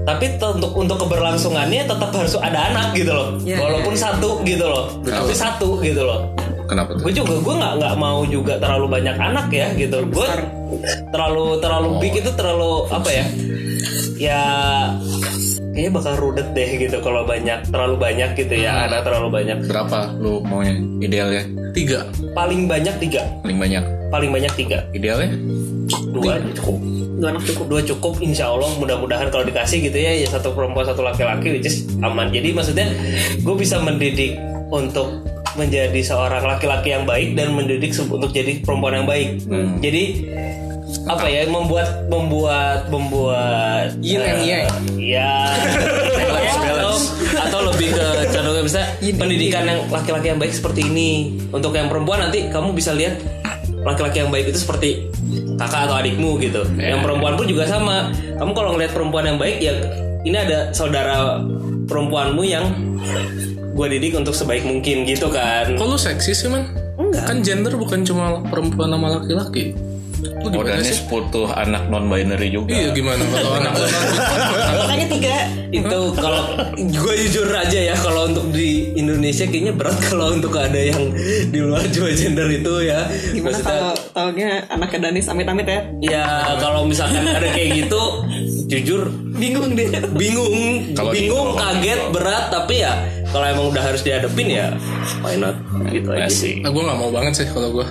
tapi te- untuk untuk keberlangsungannya tetap harus ada anak gitu loh, Iya, walaupun satu gitu loh, tapi satu gitu loh. Kenapa tuh? gue juga gue nggak nggak mau juga terlalu banyak anak ya gitu gue terlalu terlalu big itu terlalu apa ya ya kayaknya bakal rudet deh gitu kalau banyak terlalu banyak gitu ya anak terlalu banyak Berapa lu maunya idealnya? tiga paling banyak tiga Paling banyak. paling banyak tiga Idealnya? dua cukup dua anak cukup dua cukup insya Allah mudah-mudahan kalau dikasih gitu ya ya satu perempuan satu laki-laki which is aman jadi maksudnya gue bisa mendidik untuk menjadi seorang laki-laki yang baik dan mendidik se- untuk jadi perempuan yang baik jadi apa ya membuat membuat membuat Yin and eh, yang. ya atau, Iya, atau lebih ke contohnya bisa pendidikan yang laki-laki yang baik seperti ini untuk yang perempuan nanti kamu bisa lihat laki-laki yang baik itu seperti kakak atau adikmu gitu yang perempuan pun juga sama kamu kalau ngelihat perempuan yang baik ya ini ada saudara perempuanmu yang gua didik untuk sebaik mungkin gitu kan Kok lu seksis sih man? Enggak. Kan gender bukan cuma perempuan sama laki-laki Lu gimana Modalnya sih? seputu anak non-binary juga. Iya gimana kalau anak lu makanya tiga itu kalau gue jujur aja ya kalau untuk di Indonesia kayaknya berat kalau untuk ada yang di luar dua gender itu ya gimana kalau taunya anaknya Danis amit-amit ya ya kalau misalkan ada kayak gitu jujur bingung dia bingung Kalau bingung di- kaget berat tapi ya kalau emang udah harus dihadapin ya why not gitu aja sih Nah, gue gak mau banget sih kalau gue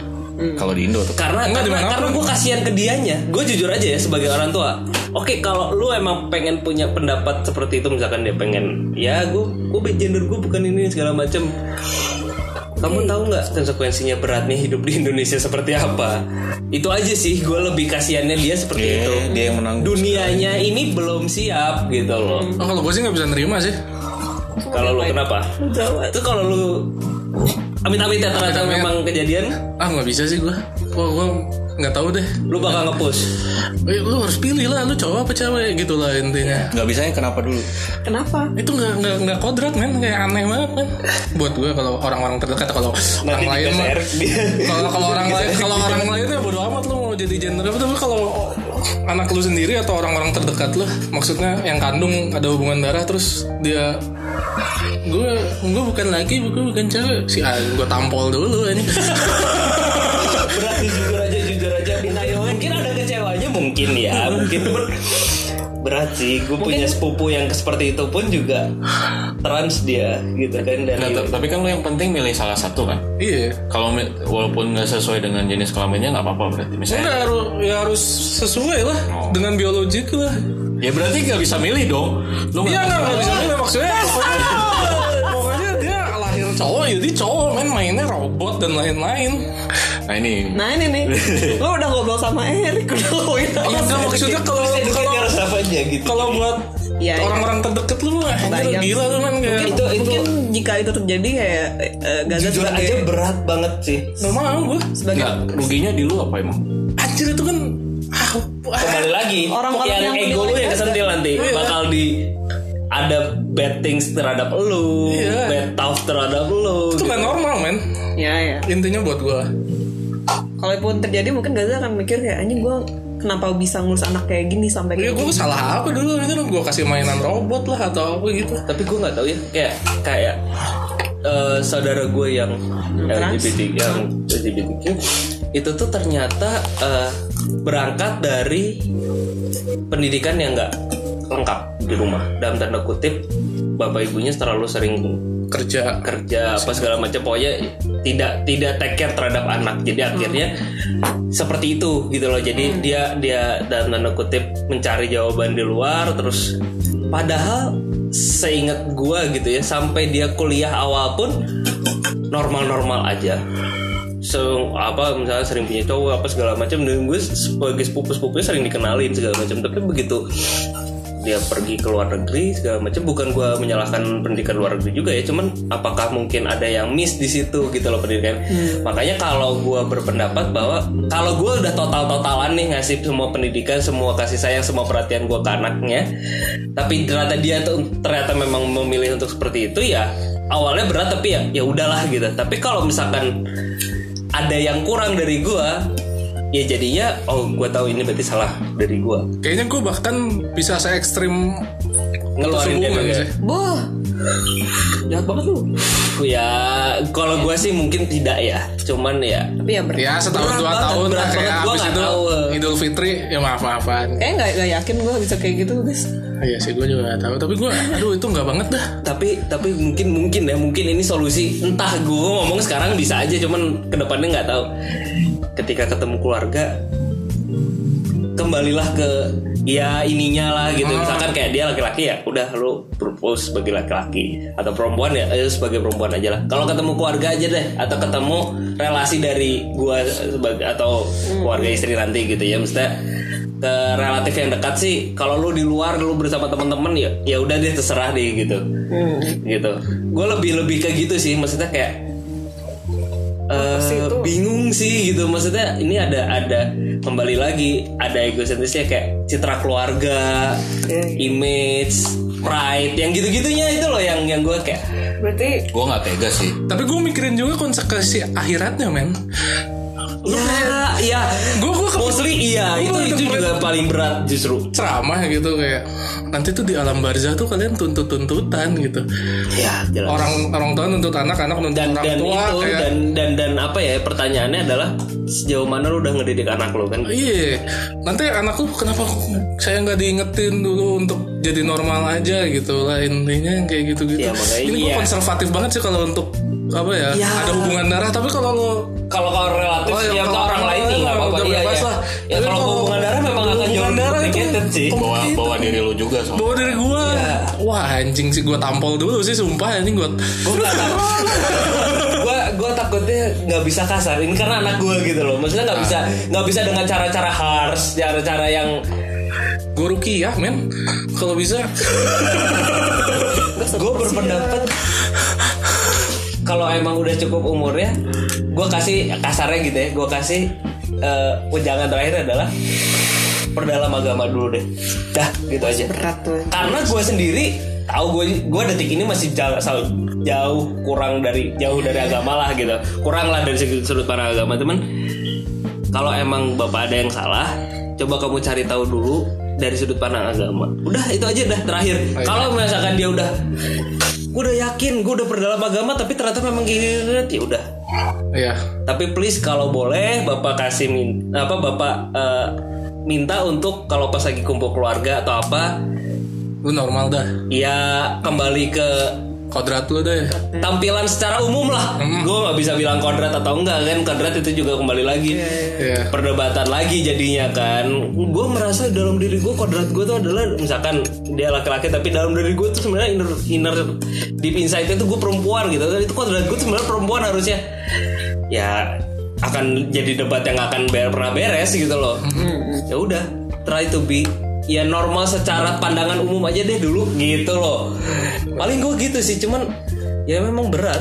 Kalau di Indo tuh karena Enggak, karena, dimanapun. karena gue kasihan ke dianya gue jujur aja ya sebagai orang tua oke kalau lu emang pengen punya pendapat seperti itu misalkan dia pengen ya gue gue gender gue bukan ini segala macem kamu tahu nggak konsekuensinya beratnya hidup di Indonesia seperti apa itu aja sih gue lebih kasihannya dia seperti Iya, itu dia yang menanggung dunianya ini belum siap gitu loh oh, Kalau gue sih gak bisa nerima sih kalau lu kenapa itu kalau lu amit-amit ya ternyata Amit-amit. memang kejadian Ah gak bisa sih gue Wah gue gak tahu deh lu bakal ngepush Eh, Lu harus pilih lah, lu cowok apa cewek gitu lah intinya nggak bisanya kenapa dulu? kenapa itu nggak nggak nggak kodrat men kayak aneh banget men buat gue kalau orang-orang terdekat kalau orang lain mah kalau kalau orang lain kalau orang lain ya bodo amat lu mau jadi gender apa tapi kalau anak lu sendiri atau orang-orang terdekat lu maksudnya yang kandung ada hubungan darah terus dia gue gue bukan laki gue bukan cewek si A gue tampol dulu ini berarti jujur aja jujur aja mungkin, mungkin ada kecewanya mungkin ya mungkin ber- berat sih gue punya sepupu yang seperti itu pun juga trans dia gitu kan dari Nah, t- tapi kan lu yang penting milih salah satu kan. iya Kalau mi- walaupun nggak sesuai dengan jenis kelaminnya nggak apa-apa berarti. Misalnya, Enggak harus ya harus sesuai lah dengan biologi lah ya berarti nggak bisa milih dong. Lu Iya nggak nggak nggak bisa milih maksudnya pokoknya, pokoknya dia lahir cowok jadi cowok main mainnya robot dan lain-lain. Nah ini nah ini nih lo udah ngobrol sama Erik udah ngomongin apa Iya nggak maksudnya kalau kalau harus apa aja gitu kalau buat Iya, iya. orang-orang terdekat lu mah anjir Bayang. gila lu kan kayak itu itu mungkin jika itu terjadi kayak eh, Gaza jujur aja sebagai berat banget sih nggak mau gue sebagai nggak gitu. ruginya di lu apa emang? anjir itu kan ah, ah, kembali lagi Orang-orang yang, yang ego lu yang menilai kesentil nanti Iya. bakal di ada bad things terhadap lu, Iya. bad thoughts terhadap lu. itu nggak normal men ya ya intinya buat gue kalaupun terjadi mungkin Gaza akan mikir kayak anjing gue kenapa bisa ngurus anak kayak gini sampai ya kayak gue salah apa dulu itu gue kasih mainan robot lah atau apa gitu tapi gue nggak tahu ya kayak kayak eh, saudara gue yang Trans? LGBT yang LGBTQ itu tuh ternyata eh, berangkat dari pendidikan yang nggak lengkap di rumah dalam tanda kutip bapak ibunya terlalu sering kerja kerja apa segala macam pokoknya tidak tidak take care terhadap anak jadi akhirnya seperti itu gitu loh jadi dia dia dalam tanda kutip mencari jawaban di luar terus padahal seingat gua gitu ya sampai dia kuliah awal pun normal-normal aja so apa misalnya sering punya cowok apa segala macam dan gue sebagai sepupu sepupunya sering dikenalin segala macam tapi begitu dia pergi ke luar negeri segala macam bukan gue menyalahkan pendidikan luar negeri juga ya cuman apakah mungkin ada yang miss di situ gitu loh pendidikan makanya kalau gue berpendapat bahwa kalau gue udah total totalan nih ngasih semua pendidikan semua kasih sayang semua perhatian gue ke anaknya tapi ternyata dia tuh ternyata memang memilih untuk seperti itu ya awalnya berat tapi ya ya udahlah gitu tapi kalau misalkan ada yang kurang dari gue ya jadinya oh gue tahu ini berarti salah dari gue kayaknya gue bahkan bisa se ekstrim ngeluarin hubungan ya? dia juga. gitu sih boh Jahat banget lu. Ya, kalau gue sih mungkin tidak ya. Cuman ya tapi ya berat Ya setahun Berat dua banget, tahun berat lah kayak banget. Gua abis nggak itu tahu. Idul Fitri ya maaf maafan. kayaknya nggak nggak yakin gue bisa kayak gitu guys Iya sih gue juga gak tahu tapi gue aduh itu nggak banget dah. tapi tapi mungkin mungkin ya mungkin ini solusi entah gue ngomong sekarang bisa aja cuman kedepannya nggak tahu ketika ketemu keluarga kembalilah ke ya ininya lah gitu misalkan kayak dia laki-laki ya udah lu propose sebagai laki-laki atau perempuan ya eh, sebagai perempuan aja lah kalau ketemu keluarga aja deh atau ketemu relasi dari gua sebagai atau keluarga istri nanti gitu ya maksudnya ke relatif yang dekat sih kalau lu di luar lu bersama teman-teman ya ya udah deh terserah deh gitu Hmm. gitu gue lebih lebih ke gitu sih maksudnya kayak eh, bingung sih gitu maksudnya ini ada ada kembali lagi ada egosentrisnya kayak citra keluarga Iya, image pride yang gitu gitunya itu loh yang yang gue kayak berarti Gue nggak tega sih. Tapi gue mikirin juga konsekuensi akhiratnya men. Iya. ya ya Gue gue mostly iya Lu itu kayak itu kemarin- juga paling berat justru ceramah gitu kayak nanti tuh di alam barzah tuh kalian tuntut tuntutan gitu. ya jelas Orang orang tua nuntut anak anak nuntut dan orang dan tua itu kayak dan dan dan apa ya pertanyaannya adalah sejauh mana lu udah ngedidik anak lu kan Iya, nanti anakku kenapa saya nggak diingetin dulu untuk jadi normal aja gitu lah intinya yang kayak gitu-gitu. Ya, makanya Ini gue iya. konservatif banget sih kalau untuk apa ya, Ya. ada hubungan darah tapi kalau lo kalau kalau relatif Oh, iya, ya, kalau kalau orang lain sih nggak orang apa-apa udah iya, bebas iya. lah. ya Tapi kalau kalau hubungan darah memang akan hubungan jauh lebih darah itu- complicated sih Bawa bawa diri lu juga soalnya. Oh, gitu. bawa oh, dari gue, wah anjing sih gue tampol dulu sih sumpah anjing gue. gue nggak tahu gue gue takutnya nggak bisa kasar ini karena anak gue gitu loh maksudnya Ah, nggak bisa iya. nggak bisa dengan cara-cara harsh cara-cara yang Gue ruki ya men, kalau bisa gue berpendapat kalau emang udah cukup umurnya gue kasih kasarnya gitu ya gue kasih eh, ujangan terakhir adalah perdalam agama dulu deh dah gitu aja berat tuh karena gue sendiri tahu gue gue detik ini masih jauh, jauh kurang dari jauh dari agama lah gitu kurang lah dari segi sudut pandang agama teman kalau emang bapak ada yang salah coba kamu cari tahu dulu dari sudut pandang agama udah itu aja dah terakhir kalau misalkan dia udah gue udah yakin gue udah perdalam agama tapi ternyata memang gini ya udah ya tapi please kalau boleh bapak kasih min apa bapak eh, minta untuk kalau pas lagi kumpul keluarga atau apa lu normal dah, ya kembali ke kodrat lu ya. deh. tampilan secara umum lah gue nggak bisa bilang kodrat atau enggak kan kodrat itu juga kembali lagi Iya. perdebatan lagi jadinya kan gue merasa dalam diri gue kodrat gue tuh adalah misalkan dia laki-laki tapi dalam diri gue tuh sebenarnya inner inner deep inside itu gue perempuan gitu itu kodrat gue tuh sebenarnya perempuan harusnya ya akan jadi debat yang nggak akan ber- pernah beres gitu loh ya udah try to be ya normal secara pandangan umum aja deh dulu gitu loh paling gue gitu sih cuman ya memang berat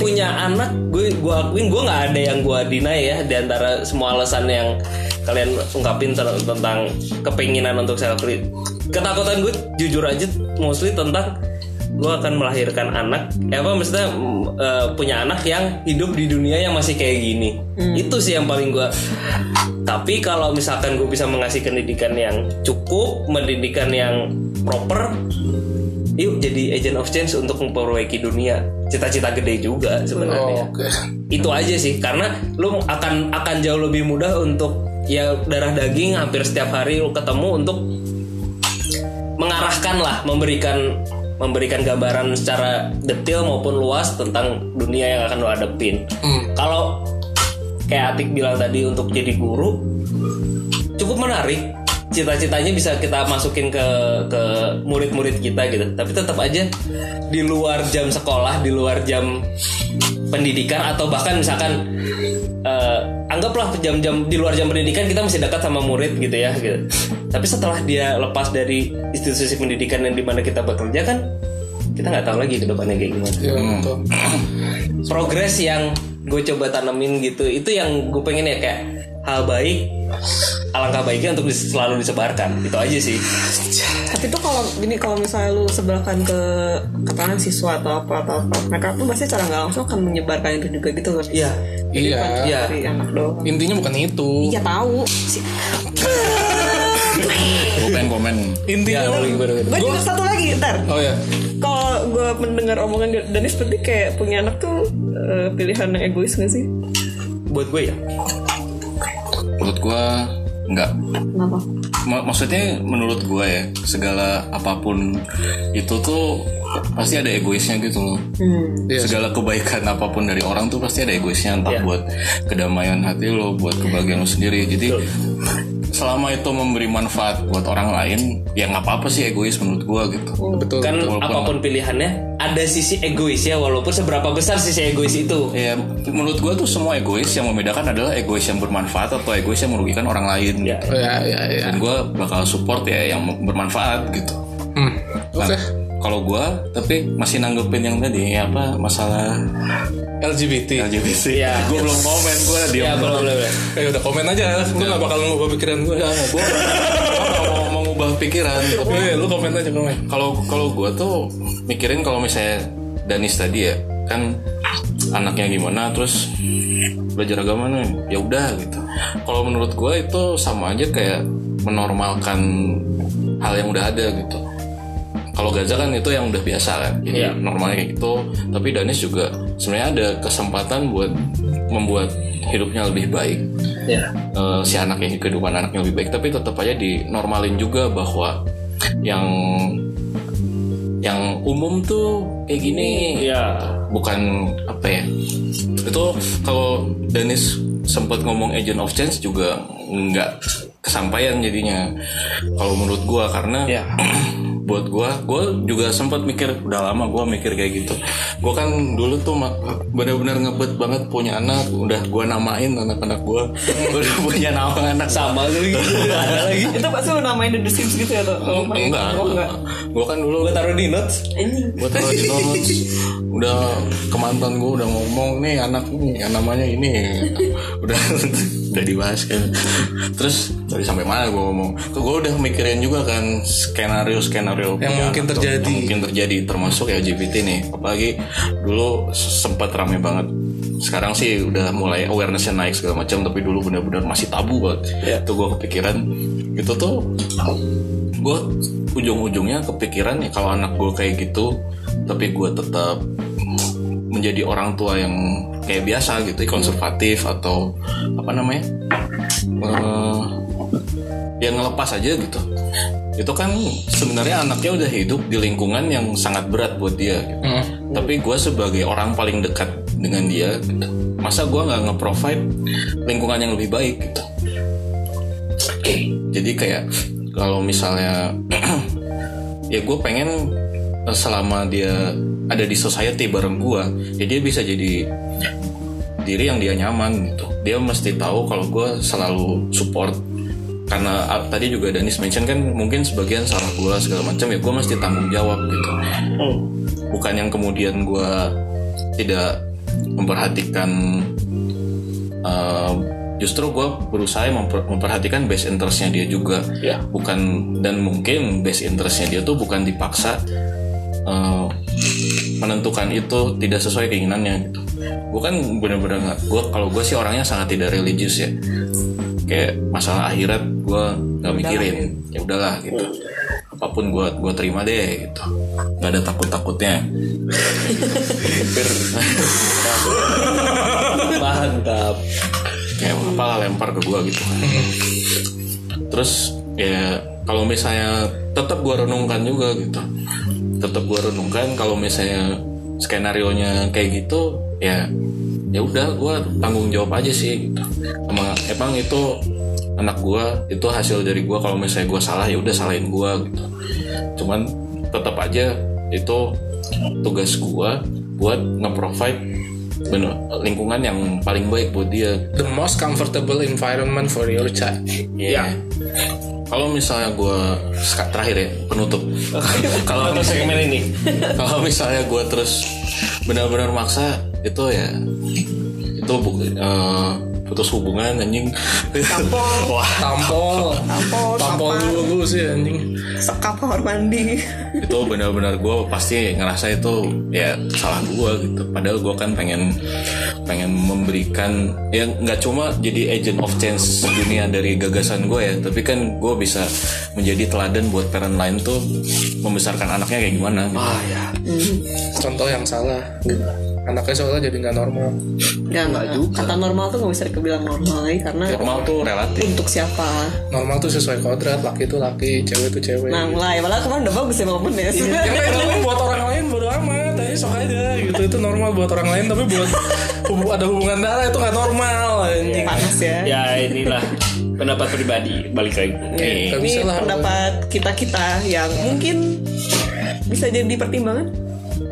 punya anak gue gue akuin gue nggak ada yang gue deny ya di antara semua alasan yang kalian ungkapin ter- tentang kepinginan untuk self re- ketakutan gue jujur aja mostly tentang gue akan melahirkan anak eh, apa maksudnya mm, eh, punya anak yang hidup di dunia yang masih kayak gini itu sih yang paling gue tapi kalau misalkan gue bisa mengasih pendidikan yang cukup pendidikan yang proper yuk jadi agent of change untuk memperbaiki dunia cita-cita gede Oh, juga sebenarnya Oke. itu aja sih karena lu akan akan jauh lebih mudah untuk ya darah daging hampir setiap hari lu ketemu untuk mengarahkan lah memberikan memberikan gambaran secara detail maupun luas tentang dunia yang akan lu hadepin kalau kayak Atik bilang tadi untuk jadi guru cukup menarik cita-citanya bisa kita masukin ke ke murid-murid kita gitu tapi tetap aja di luar jam sekolah di luar jam pendidikan atau bahkan misalkan eh, anggaplah jam-jam di luar jam pendidikan kita masih dekat sama murid gitu ya gitu tapi setelah dia lepas dari institusi pendidikan yang dimana kita bekerja kan kita nggak tahu lagi ke depannya kayak gimana Iya, betul. progres yang gue coba tanemin gitu itu yang gue pengen ya kayak hal baik alangkah baiknya untuk dis- selalu disebarkan itu aja sih tapi tuh kalau gini kalau misalnya lu sebelahkan ke katakan siswa atau apa atau apa mereka tuh pasti cara nggak langsung akan menyebarkan itu juga gitu kan Iya. Iya. Iya. dari anak doang Intinya bukan itu. iya tahu Si- Gue pengen komen. Intinya gue juga satu lagi ntar Oh ya. kalau gue gue mendengar omongan Dani seperti kayak punya anak tuh eh, pilihan yang egois gak sih? buat gue ya menurut gua nggak Kenapa? Ma- maksudnya menurut gue ya segala apapun itu tuh pasti ada egoisnya gitu loh Hmm. Iya. segala kebaikan apapun dari orang tuh pasti ada egoisnya entah buat kedamaian hati lo buat kebahagiaan lo sendiri jadi selama itu memberi manfaat buat orang lain ya nggak apa-apa sih egois menurut gue gitu betul kan betul. apapun pilihannya ada sisi egois ya walaupun seberapa besar sisi egois itu ya menurut gue tuh semua egois yang membedakan adalah egois yang bermanfaat atau egois yang merugikan orang lain ya ya ya ya dan gue bakal support ya yang bermanfaat gitu hmm. oke Nah, kalau gue tapi masih nanggepin yang tadi ya apa masalah LGBT LGBT. Iya. Gue belum komen gue dia. ya boleh boleh boleh. ya udah komen aja gue gak bakal ngubah pikiran gue Gue mau mengubah pikiran. Tapi Eh, lu komen aja komen Kalau kalau gue tuh mikirin kalau misalnya Danis tadi ya kan anaknya gimana terus belajar agama nih ya udah gitu. Kalau menurut gue itu sama aja kayak menormalkan hal yang udah ada gitu. Kalau Gaza kan itu yang udah biasa kan, jadi Iya. normalnya kayak gitu. Tapi Danis juga sebenarnya ada kesempatan buat membuat hidupnya lebih baik ya eh, si anaknya kehidupan anaknya lebih baik tapi tetap aja dinormalin juga bahwa yang yang umum tuh kayak gini ya bukan apa ya itu kalau Danis sempat ngomong agent of change juga nggak kesampaian jadinya kalau menurut gua karena ya buat gua gua juga sempat mikir udah lama gua mikir kayak gitu gua kan dulu tuh ma- benar-benar ngebet banget punya anak udah gua namain anak-anak gua udah punya nama anak sama lagi ada lagi Itu pasti lu namain The Sims gitu ya tuh? Oh, enggak, enggak. Oh, enggak. gua kan dulu gue taruh di notes Anjing. gua taruh di notes. udah ke mantan gua udah ngomong nih anak nih yang namanya ini udah udah dibahas kan terus dari sampai mana gua ngomong tuh gua udah mikirin juga kan skenario skenario Yang mungkin terjadi. yang mungkin terjadi termasuk LGBT nih apalagi dulu sempat rame banget sekarang sih udah mulai awarenessnya naik segala macam tapi dulu benar-benar masih tabu banget Iya. itu gue kepikiran itu tuh gue ujung-ujungnya kepikiran ya kalau anak gue kayak gitu tapi gue tetap menjadi orang tua yang kayak biasa gitu konservatif atau apa namanya eh, yang ngelepas aja gitu itu kan sebenarnya anaknya udah hidup di lingkungan yang sangat berat buat dia gitu. tapi gue sebagai orang paling dekat dengan dia gitu. masa gue nggak nge-provide lingkungan yang lebih baik gitu jadi kayak kalau misalnya ya gue pengen eh, selama dia ada di society bareng gue ya dia bisa jadi diri yang dia nyaman gitu dia mesti tahu kalau gue selalu support karena ah, tadi juga Danis mention kan mungkin sebagian salah gue segala macam ya gue mesti tanggung jawab gitu bukan yang kemudian gue tidak memperhatikan eh, justru gue berusaha memper- memperhatikan best interestnya dia juga Ya. bukan dan mungkin best interestnya dia tuh bukan dipaksa eh, menentukan itu tidak sesuai keinginannya gitu gue kan bener-bener nggak gue kalau gue sih orangnya sangat tidak religius ya kayak masalah akhirat gue nggak mikirin ya udahlah gitu apapun gue gue terima deh gitu nggak ada takut takutnya mantap kayak apalah lempar ke gua gitu kan terus ya kalau misalnya tetap gua renungkan juga gitu tetap gua renungkan kalau misalnya skenario nya kayak gitu ya ya udah gua tanggung jawab aja sih gitu emang emang itu anak gua itu hasil dari gua kalau misalnya gua salah ya udah salahin gua gitu cuman tetap aja itu tugas gua buat nge-provide bener lingkungan yang paling baik buat dia the most comfortable environment for your child Iya. Kalau misalnya gue terakhir ya penutup. Kalau atau segmen ini kalau misalnya gue terus benar-benar maksa itu ya itu bu- eh, putus hubungan anjing. Wah tampol tampol tampol dulu gue dulu sih anjing Oh, sekap kamar mandi itu benar-benar gue pasti ngerasa itu ya salah gue gitu padahal gue kan pengen pengen memberikan ya nggak cuma jadi agent of change dunia dari gagasan gue ya tapi kan gue bisa menjadi teladan buat parent lain tuh membesarkan anaknya kayak gimana gitu. ah ya contoh yang salah gitu anaknya soalnya jadi nggak normal nggak nggak kata normal tuh nggak bisa dibilang normal lagi karena normal tuh relatif untuk siapa normal tuh sesuai kodrat laki itu laki cewek itu cewek nah mulai malah kemarin udah bagus ya momen ya Iya. yang lain buat orang lain bodo amat aja sok aja gitu itu normal buat orang lain tapi buat hubu- ada hubungan darah itu nggak normal anjing panas ya Iya. ya inilah pendapat pribadi balik lagi Iya. Nggak ini bisa lah pendapat kita kita yang mungkin bisa jadi pertimbangan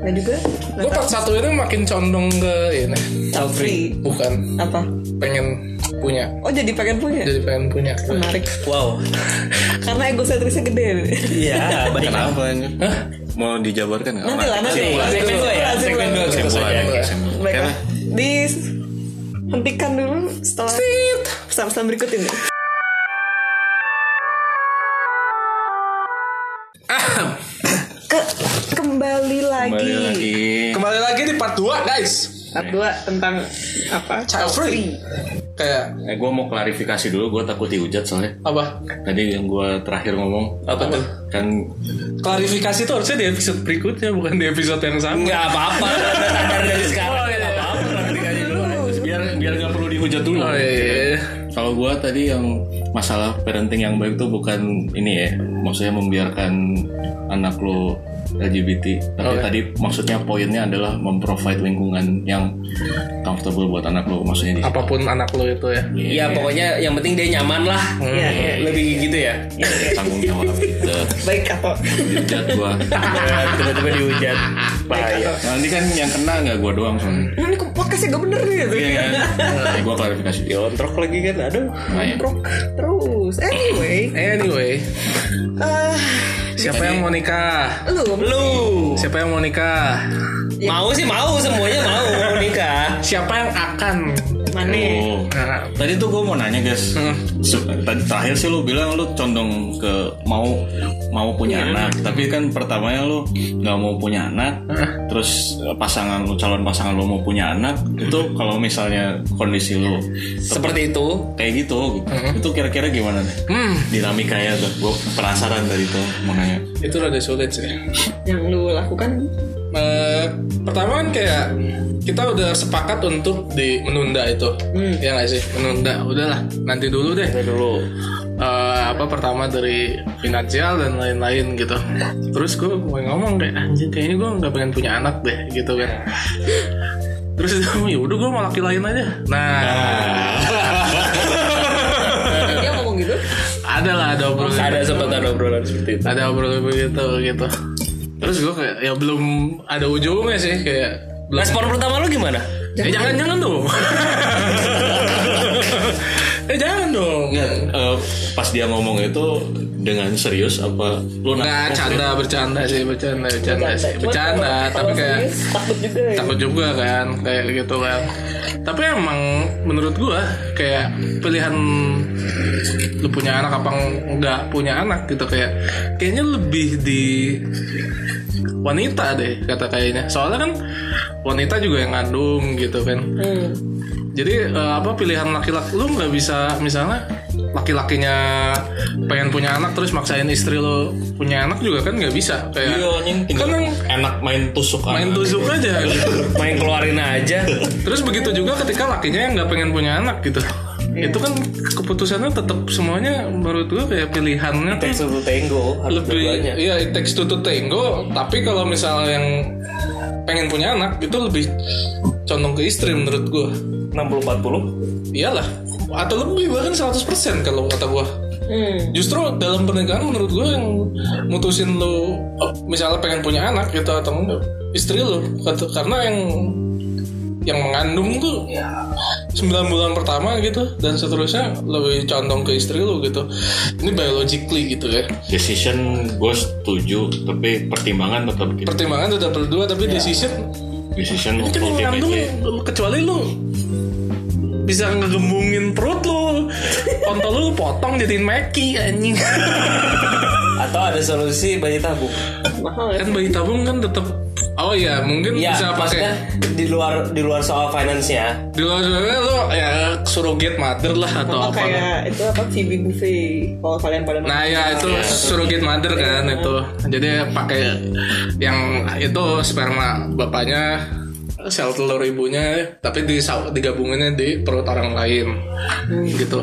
dan juga gue part satu ini makin condong ke ini child free bukan apa pengen punya oh jadi pengen punya jadi pengen punya menarik wow karena egosentrisnya gede iya balik lagi kenapa anjir? mau dijabarkan nggak nanti lah nanti segmen dua ya Nanti segmen dua lah. kita saja Baiklah. Di hentikan dulu setelah pesan-pesan berikut ini. Ah. Ke- kembali lagi. kembali lagi kembali lagi di part 2 guys Part dua tentang apa? Child free. kayak eh, gue mau klarifikasi dulu gue takut dihujat soalnya apa tadi yang gue terakhir ngomong apa tuh kan klarifikasi itu harusnya di episode berikutnya bukan di episode yang sama Oh, iya, nggak apa-apa sadar dari sekarang nggak apa-apa biar biar nggak perlu dihujat dulu oh, iya, iya. Kalau gua tadi yang masalah parenting yang baik tuh bukan ini ya, maksudnya membiarkan anak lo LGBT. Tapi Oke. tadi maksudnya poinnya adalah memprovide lingkungan yang comfortable buat anak lo, maksudnya di Iya, apapun anak lo itu ya Iya, Hmm. ya pokoknya yang penting dia nyaman lah Iya, iya. lebih gitu ya iya. tanggung jawab gitu. Baik atau Dihujat gua. Ya, tiba-tiba dihujat bahaya Nanti kan yang kena nggak gua doang soalnya. ini kok podcastnya gak bener nih gitu. Iya kan? Nah, gua klarifikasi. Ya, Ontrok lagi kan aduh Nah, ya. Terus, anyway, anyway ah, siapa yang mau nikah lu lu siapa yang mau nikah mau sih mau semuanya mau mau nikah siapa yang akan mana? Oh. nah, Tadi tuh gue mau nanya guys, Se- tadi terakhir sih lu bilang lu condong ke mau mau punya Iya. anak, tapi kan pertamanya lu nggak mau punya anak, terus eh, pasangan lu calon pasangan lu mau punya anak, itu kalau misalnya kondisi lu tetap seperti itu kayak gitu, itu kira-kira gimana nih? hmm, Dinamikanya tuh, gue penasaran tadi tuh mau nanya. itu rada sulit sih Yang lu lakukan Eh, pertama kan kayak kita udah sepakat untuk di menunda itu ya nggak sih menunda udahlah nanti dulu deh Hmm. dulu Eh, apa pertama dari finansial dan lain-lain gitu terus gue mau ngomong kayak anjing kayaknya gue nggak pengen punya anak deh gitu kan terus dia ngomong, ya udah gue mau laki lain aja nah dia ngomong gitu ada lah ada obrolan Nah. ada sempat ada obrolan seperti itu ada obrolan begitu gitu terus gue kayak ya belum ada ujungnya sih kayak belum respon pertama lu gimana Eh, jangan jangan dong. eh jangan dong. Nggak, eh, pas dia ngomong itu dengan serius apa lu Nggak nanya? canda bercanda sih bercanda bercanda sih Cuman Ya, bercanda kalau- tapi kalau kayak serius, takut juga ya. takut juga kan kayak gitu kan. Tapi emang menurut gua kayak pilihan lu punya anak apa nggak punya anak gitu kayak kayaknya lebih di wanita deh kata kayaknya soalnya kan wanita juga yang ngandung gitu kan Hmm. jadi eh, apa pilihan laki-laki lu nggak bisa misalnya laki-lakinya pengen punya anak terus maksain istri lo punya anak juga kan nggak bisa kayak Iya, anjing, tinggal kan enak main tusuk main anak. tusuk aja gitu. main keluarin aja terus begitu juga ketika lakinya yang nggak pengen punya anak gitu itu kan keputusannya tetap semuanya menurut gua kayak pilihannya tuh Satu tenggo harus lebih dua-duanya iya it takes two to tango tapi kalau misalnya yang pengen punya anak itu lebih condong ke istri menurut gua 60-40 iyalah atau lebih bahkan 100% kalau kata gua hmm, justru dalam pernikahan menurut gua yang mutusin lu oh, misalnya pengen punya anak gitu atau enggak istri lu Kata- karena yang yang mengandung tuh 9 bulan pertama gitu dan seterusnya lebih condong ke istri lu gitu ini biologically gitu ya Decision gue setuju, tapi pertimbangan tetap gitu. pertimbangan tetap berdua tapi decision Decision ini kan yang ultimately. mengandung kecuali lu bisa ngegembungin perut lu kontol lu potong jadiin meki anjing Atau ada solusi bayi tabung? mahal ya kan bayi tabung kan tetap oh ya mungkin Iya, bisa maksudnya pakai di luar di luar soal finance-nya. di luar sana lu ya surrogate mother lah atau Oh, apa kan. kayak itu apa Phoebe Buffet kalau kalian pada Nah ya gitu. itu Iya. surrogate mother kan itu. Jadi pakai yang itu sperma bapaknya sel telur ibunya tapi disa- digabunginnya di perut orang lain Hmm. gitu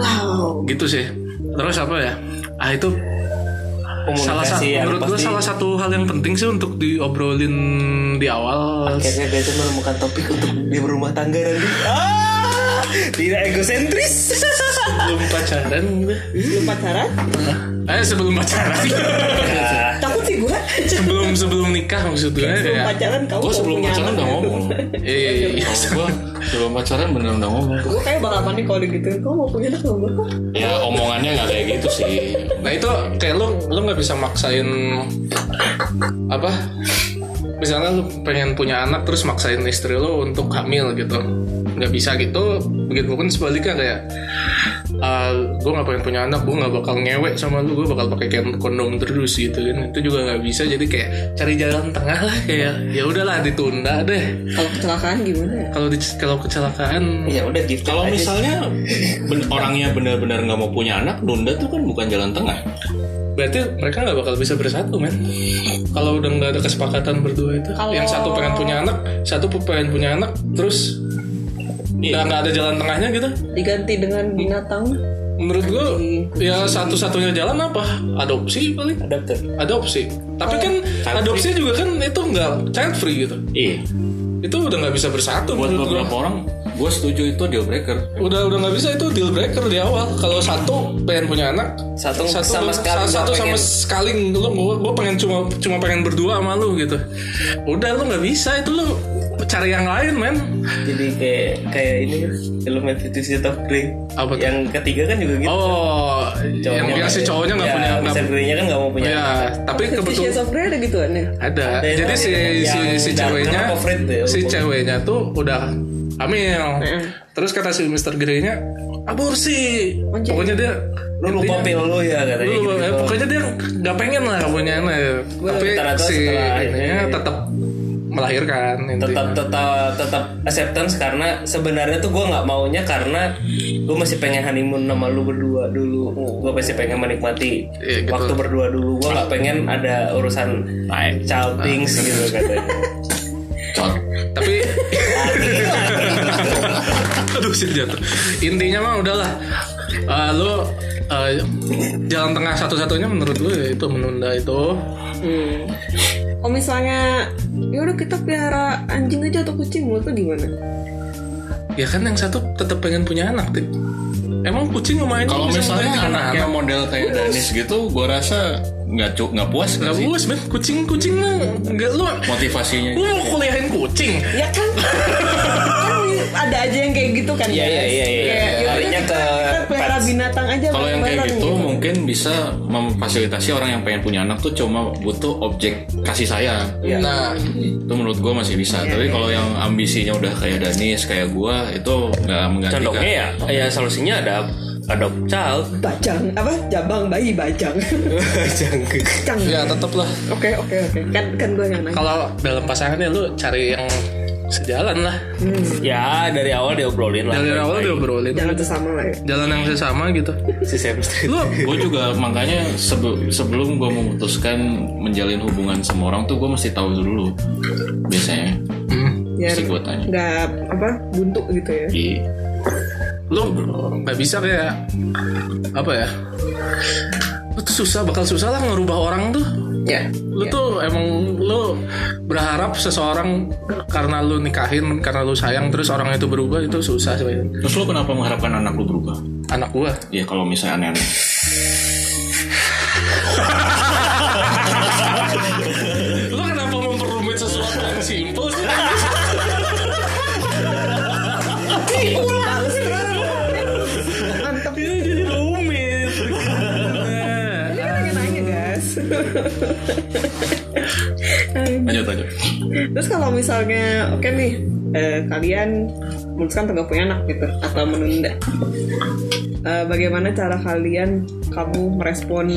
wow gitu sih terus apa ya ah itu salah satu yang menurut gue ya, pasti- salah satu hal yang penting sih untuk diobrolin di awal Akhirnya dia tuh ya, menemukan topik untuk di rumah tangga nanti. Ah, tidak egosentris. sebelum pacaran gitu. gue belum pacaran eh sebelum pacaran takut sih gue sebelum sebelum nikah maksud gue belum ya pacaran kamu Gue belum sebelum punya pacaran anak udah ya? ngomong. iya iya iya Gue sebelum pacaran bener udah ngomong. gue kayak bakal panik kalau digituin kamu mau punya anak belum Kok Ya omongannya nggak kayak gitu sih. Nah itu kayak lu lu nggak bisa maksain apa? Misalnya lu pengen punya anak terus maksain istri lu untuk hamil gitu, nggak bisa gitu. Begitupun sebaliknya kayak gue nggak pengen punya anak, gue nggak bakal ngewek sama lu, gue bakal pakai kayak kondom terus gitu kan. Itu juga nggak bisa. Jadi kayak cari jalan tengah lah kayak ya udahlah ditunda deh. kalau kecelakaan gimana ya Kalau di- kalau kecelakaan Ya udah gitu. Kalau misalnya ben- orangnya benar-benar nggak mau punya anak, nunda tuh kan bukan jalan tengah. berarti mereka nggak bakal bisa bersatu men kalau udah nggak ada kesepakatan berdua itu Kalau- yang satu pengen punya anak satu pengen punya anak terus nggak nggak ada jalan tengahnya gitu diganti dengan binatang menurut gua ya satu-satunya jalan apa adopsi paling adapter. adopsi tapi kan adopsi juga kan itu nggak child free gitu Iya. itu udah nggak bisa bersatu Buat menurut gua beberapa orang, gue setuju itu deal breaker. udah udah nggak bisa itu deal breaker di awal kalau satu pengen punya anak Satu lu- sama sekali nggak satu sama pengen. sekali lu gua, gua pengen cuma cuma pengen berdua sama lu gitu udah lu nggak bisa itu lu cari yang lain men Jadi kayak kayak ini film Fifty Shades of Grey. Apa tuh? Yang ketiga kan juga gitu. oh yang bilang si cowoknya nggak punya nggak Mister Grey-nya Iya, kan nggak mau ya, punya. ya tapi Fifty Shades kebetulan of Grey ada gituan ya ada Yang- jadi si si yang si dark ceweknya apa Fred tuh ya, si lupa. ceweknya tuh udah hamil Iya. terus kata si Mr. Grey-nya aborsi Anjing. pokoknya dia Lu lupa intinya- pil lu ya katanya Lu, gitu. eh, pokoknya dia nggak pengen lah punya anak ya. tapi ternyata si setelah ini- ininya tetap melahirkan tetap intinya tetap tetap acceptance karena sebenarnya tuh gue nggak maunya karena gue masih pengen honeymoon sama lu berdua dulu gue masih pengen menikmati Iya, gitu. waktu berdua dulu gue nggak pengen ada urusan child Nah. things gitu katanya tapi aduh sih jatuh intinya mah udahlah Eh, lu eh, jalan tengah satu-satunya menurut lu ya itu menunda itu hmm. kalau misalnya ya udah kita pelihara anjing aja atau kucing menurut tuh gimana ya kan yang satu tetap pengen punya anak Tik. emang kucing lumayan Kalau misalnya anak anak yang model kayak Danis gitu, gue rasa nggak cu- nggak puas nggak nggak sih puas men kucing kucing mah nggak lu motivasinya. lu mau kuliahin kucing ya kan Kan ada aja yang kayak gitu kan Iya, guys. iya, iya, iya. Kayak, ya udah Larinya kita, ke kita pelihara pets. binatang aja Kalau yang kayak bareng-bareng gitu mungkin bisa memfasilitasi orang yang pengen punya anak tuh cuma butuh objek kasih sayang. nah Itu menurut gue masih bisa. Tapi kalau yang ambisinya udah kayak Danis, kayak gue, itu nggak menggantikan. Condongnya ya, Iya. ya solusinya ada adopt child. bajang apa jabang bayi bajang bajang ya tetap lah oke oke oke kan kan gue yang nanya kalau dalam pasangannya lu cari yang sejalan lah Ya dari awal diobrolin lah. dari awal Baik-baik. udah obrolin jangan sesama lah ya jalan yang sesama gitu si Sam Street. lu Gue juga makanya sebe- sebelum gue memutuskan menjalin hubungan sama orang tuh gue mesti tahu dulu biasanya. biar Mesti gue tanya. nggak apa buntu gitu ya Di lu nggak bisa kayak apa ya lu tuh susah bakal susah lah ngerubah orang tuh ya lu tuh emang lu berharap seseorang karena lu nikahin karena lu sayang terus orang itu berubah itu susah sih Terus lo kenapa mengharapkan anak lo berubah? anak gua Ya kalau misalnya aneh-aneh. lu kenapa memperumit sesuatu yang simpel sih mantap Ini jadi rumit Nah. Ini kan lagi nanya guys Lanjut aja. terus kalau misalnya oke nih eh, kalian memutuskan untuk gak punya anak gitu atau menunda. Eh, bagaimana cara kalian kamu merespon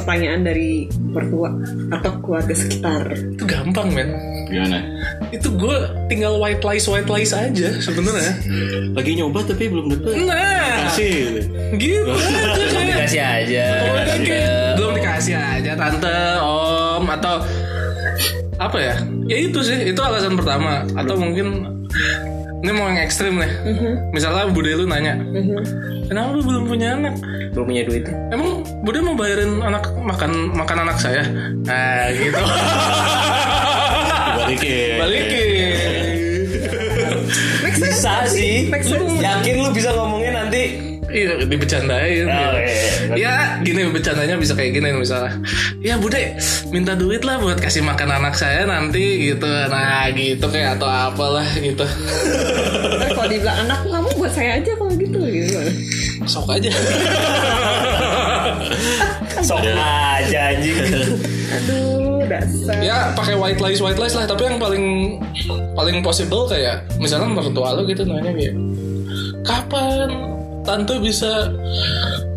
pertanyaan dari mertua atau keluarga sekitar? itu gampang men Gimana? itu gue tinggal white lies white lies aja sebenarnya Lagi nyoba tapi belum dapet. nah Kasih. gitu aja kayak Kasih aja. Pokoknya kayak belum dikasih aja tante om atau apa ya ya itu sih itu alasan pertama atau mungkin ini mau yang ekstrim nih misalnya bude lu nanya kenapa lu belum punya anak belum punya duit emang bude mau bayarin anak makan makan anak saya nah gitu Balikin. balikin Bisa sih. Yakin lu bisa ngomongin nanti. Iya, dibecandain. Ya, gini bercandanya bisa kayak gini misalnya. Ya, Bude, minta duit lah buat kasih makan anak saya nanti gitu. Nah, gitu kayak atau apalah gitu. Ntar Eh, kalau dibilang anak kamu buat saya aja kalau gitu gitu. Sok aja. Sok aja anjing. Aduh dasar. ya, pakai white lies white lies lah, tapi yang paling paling possible kayak misalnya mertua lo gitu nanya kayak kapan tante bisa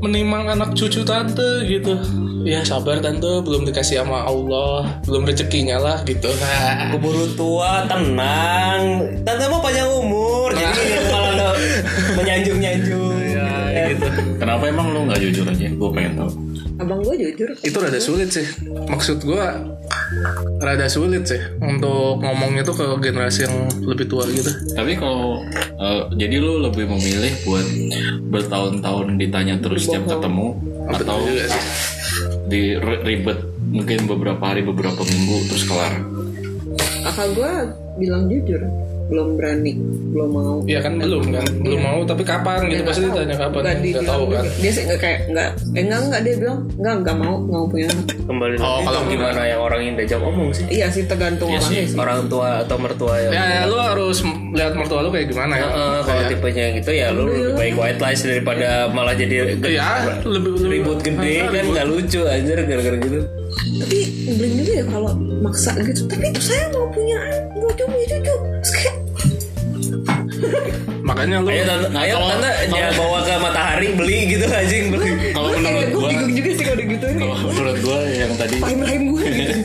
menimang anak cucu tante gitu ya sabar tante belum dikasih sama Allah belum rezekinya lah gitu nah, Keburu tua, tenang. Tante mau panjang umur. Jadi kalau lo menyanjung-nyanjung. iya, Eh, Ya, gitu. Kenapa emang lu nggak jujur aja? Gue pengen tahu. Abang gue jujur. Itu rada sulit sih. Maksud gue rada sulit sih untuk ngomong itu ke generasi yang lebih tua gitu. Tapi kalau eh, jadi lu lebih memilih buat bertahun-tahun ditanya terus setiap ketemu atau Betul juga sih. di ribet mungkin beberapa hari beberapa minggu terus kelar. Kakak gue bilang jujur belum berani belum mau Iya kan belum kan, belum mau tapi kapan gitu pasti ditanya kapan. Iya, Nggak Gak dibilang tahu kan. gitu. dia sih nggak kayak nggak eh nggak nggak dia bilang nggak nggak mau nggak mau punya anak Kembali Oh, lagi kalau itu gimana yang orang yang diajak ngomong sih? iya sih tergantung orangnya sih Orang tua atau mertua yang Ya, ya lu harus lihat mertua lu kayak gimana ya. Heeh, kalau tipenya yang gitu ya lu lebih baik white lies daripada malah jadi Iya, lebih lebih ribut gede Iya. kan nggak lucu anjir gara-gara gitu tapi belum juga ya kalau maksa gitu tapi itu saya mau punya anak mau cucu mau cucu Terus kayak Makanya lu ayo tante ayo tante ya bawa ke matahari beli gitu anjing beli Kalau menurut gue gua, bingung juga sih kalau gitu. digituin kalau menurut gua yang tadi rahim rahim gue gitu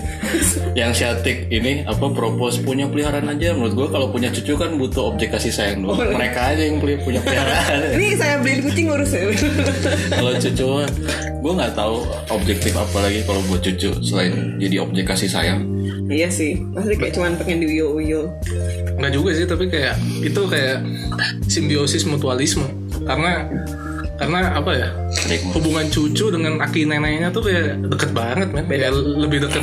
yang syatik ini apa propose punya peliharaan aja menurut gua kalau punya cucu kan butuh objek kasih sayang dulu. Mereka aja yang punya punya peliharaan. ini saya beliin kucing urus ya kalau cucu gue nggak tahu objektif apa lagi kalau buat cucu selain jadi objek kasih sayang iya sih pasti kayak cuman pengen diuyul uyul Nggak juga sih tapi kayak itu kayak simbiosis mutualisme karena karena apa ya Stigma. hubungan cucu dengan aki neneknya tuh kayak deket banget men Kayak lebih deket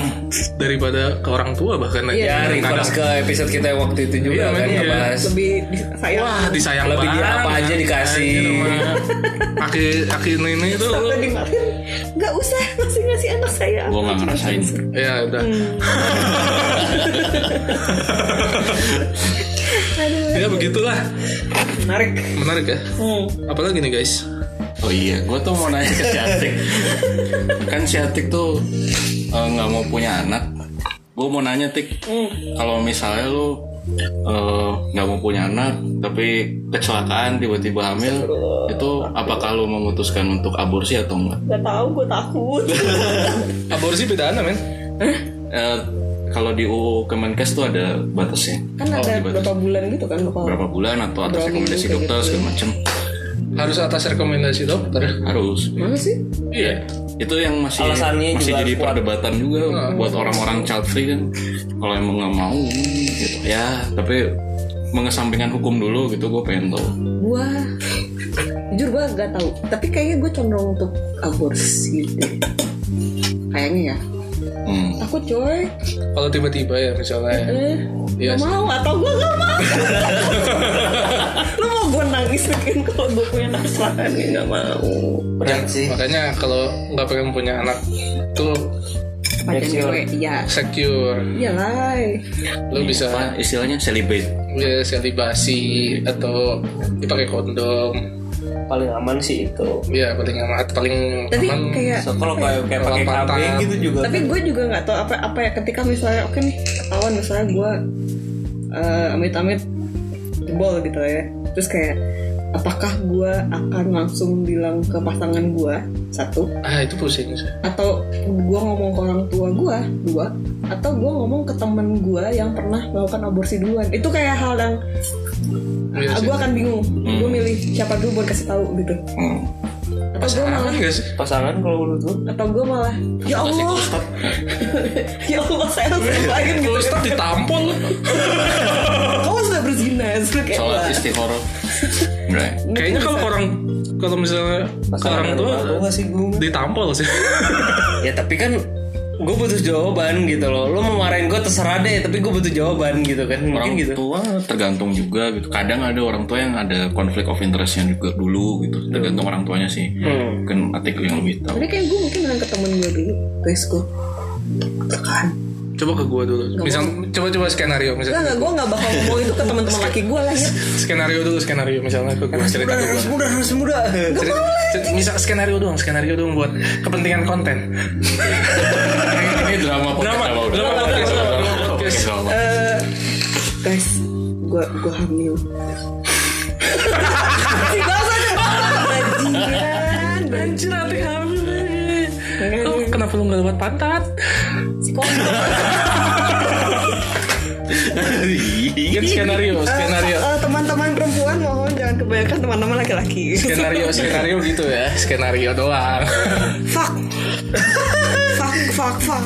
daripada ke orang tua bahkan ya Kadang- reference ke episode kita yang waktu itu Iya, juga kan iya. ngebahas lebih di- sayang wah ah, disayang Lebih dia banget apa aja kan. dikasih. Anjir, sama aki aki nenek itu lu- Sampai dimatiin, nggak usah ngasih ngasih anak saya gue nggak ngerasain ya udah ya begitulah menarik Hmm. menarik ya apalagi nih guys oh iya gue tuh mau nanya ke syatik kan syatik tuh eh, nggak mau punya anak gue mau nanya tik kalau misalnya lu eh, nggak mau punya anak tapi kecelakaan tiba-tiba hamil itu apakah lu memutuskan untuk aborsi atau enggak nggak tahu gue takut aborsi pidana men Eh, kalau di UU Kemenkes tuh ada batasnya kan ada dibatasi. berapa bulan gitu kan bakal berapa bulan atau atas Berapa rekomendasi minggu kayak dokter gitu. segala macem harus atas rekomendasi dokter harus mana sih iya itu yang masih Alasannya juga masih jadi harus kuat. perdebatan juga buat orang-orang child free kan kalau emang nggak mau gitu ya tapi mengesampingkan hukum dulu gitu gue pengen tahu gua jujur gua nggak tahu tapi kayaknya gue condong untuk aborsi deh. kayaknya ya hmm. takut coy kalau tiba-tiba ya misalnya eh, Iya nggak sih. mau atau gue gak mau lu mau gue nangis kan kalau gue punya anak silakan ya nggak mau berat sih makanya kalau nggak pengen punya anak tuh pacar cewek iya secure iyalah lo Iya, bisa apa istilahnya celibate ya selibasi atau dipakai kondom paling aman sih itu ya paling aman paling tapi aman kayak so, kalau kayak kayak pakai Kalau KB pantat. gitu juga tapi gue juga nggak tahu apa apa ya ketika misalnya oke nih ketahuan misalnya gue eh amit-amit tiba-tiba jebol gitu lah ya terus kayak apakah gue akan langsung bilang ke pasangan gue satu ah itu pusing sih atau gue ngomong ke orang tua gue dua atau gue ngomong ke temen gue yang pernah melakukan aborsi duluan itu kayak hal yang Iya sih. Hmm. gue akan bingung gue milih siapa dulu buat kasih tahu gitu Hmm. atau gue Oh, malah Enggak sih pasangan kalau menurut lu atau gue malah ya Allah ya Allah saya harus Iya. ngapain gitu Ustad ditampol kamu sudah berzina terus gue kayak sholat wah. istighfar Bray. kayaknya kalau orang kalau misalnya ke orang tua gue sih gue ditampol sih ya tapi kan gue butuh jawaban gitu loh lo mau marahin gue terserah deh tapi gue butuh jawaban gitu kan mungkin orang gitu tua tergantung juga gitu kadang ada orang tua yang ada konflik of interestnya juga dulu gitu tergantung orang tuanya sih mungkin atik yang lebih tahu tapi kayak gue mungkin bilang ke temen gue dulu guys gue tekan coba ke gua dulu misal coba coba skenario Kan? Enggak, misal enggak, gue gak bakal ngomong itu ke teman-teman laki gue lah ya skenario dulu skenario misalnya ke gua cerita ke gua muda harus muda Cerita- cer- misal skenario doang skenario doang buat kepentingan konten ini drama podcast Drama, apa udah? drama, Drama, drama, drama, drama, drama, podcast. podcast, drama. Guys, gue gue hamil Gak usah Bajingan, anjir hati hamil Lu kenapa lu gak lewat pantat Iya. kan skenario skenario Eh, eh, teman-teman perempuan mohon jangan kebanyakan teman-teman laki-laki skenario skenario gitu ya skenario doang fuck fuck fuck fuck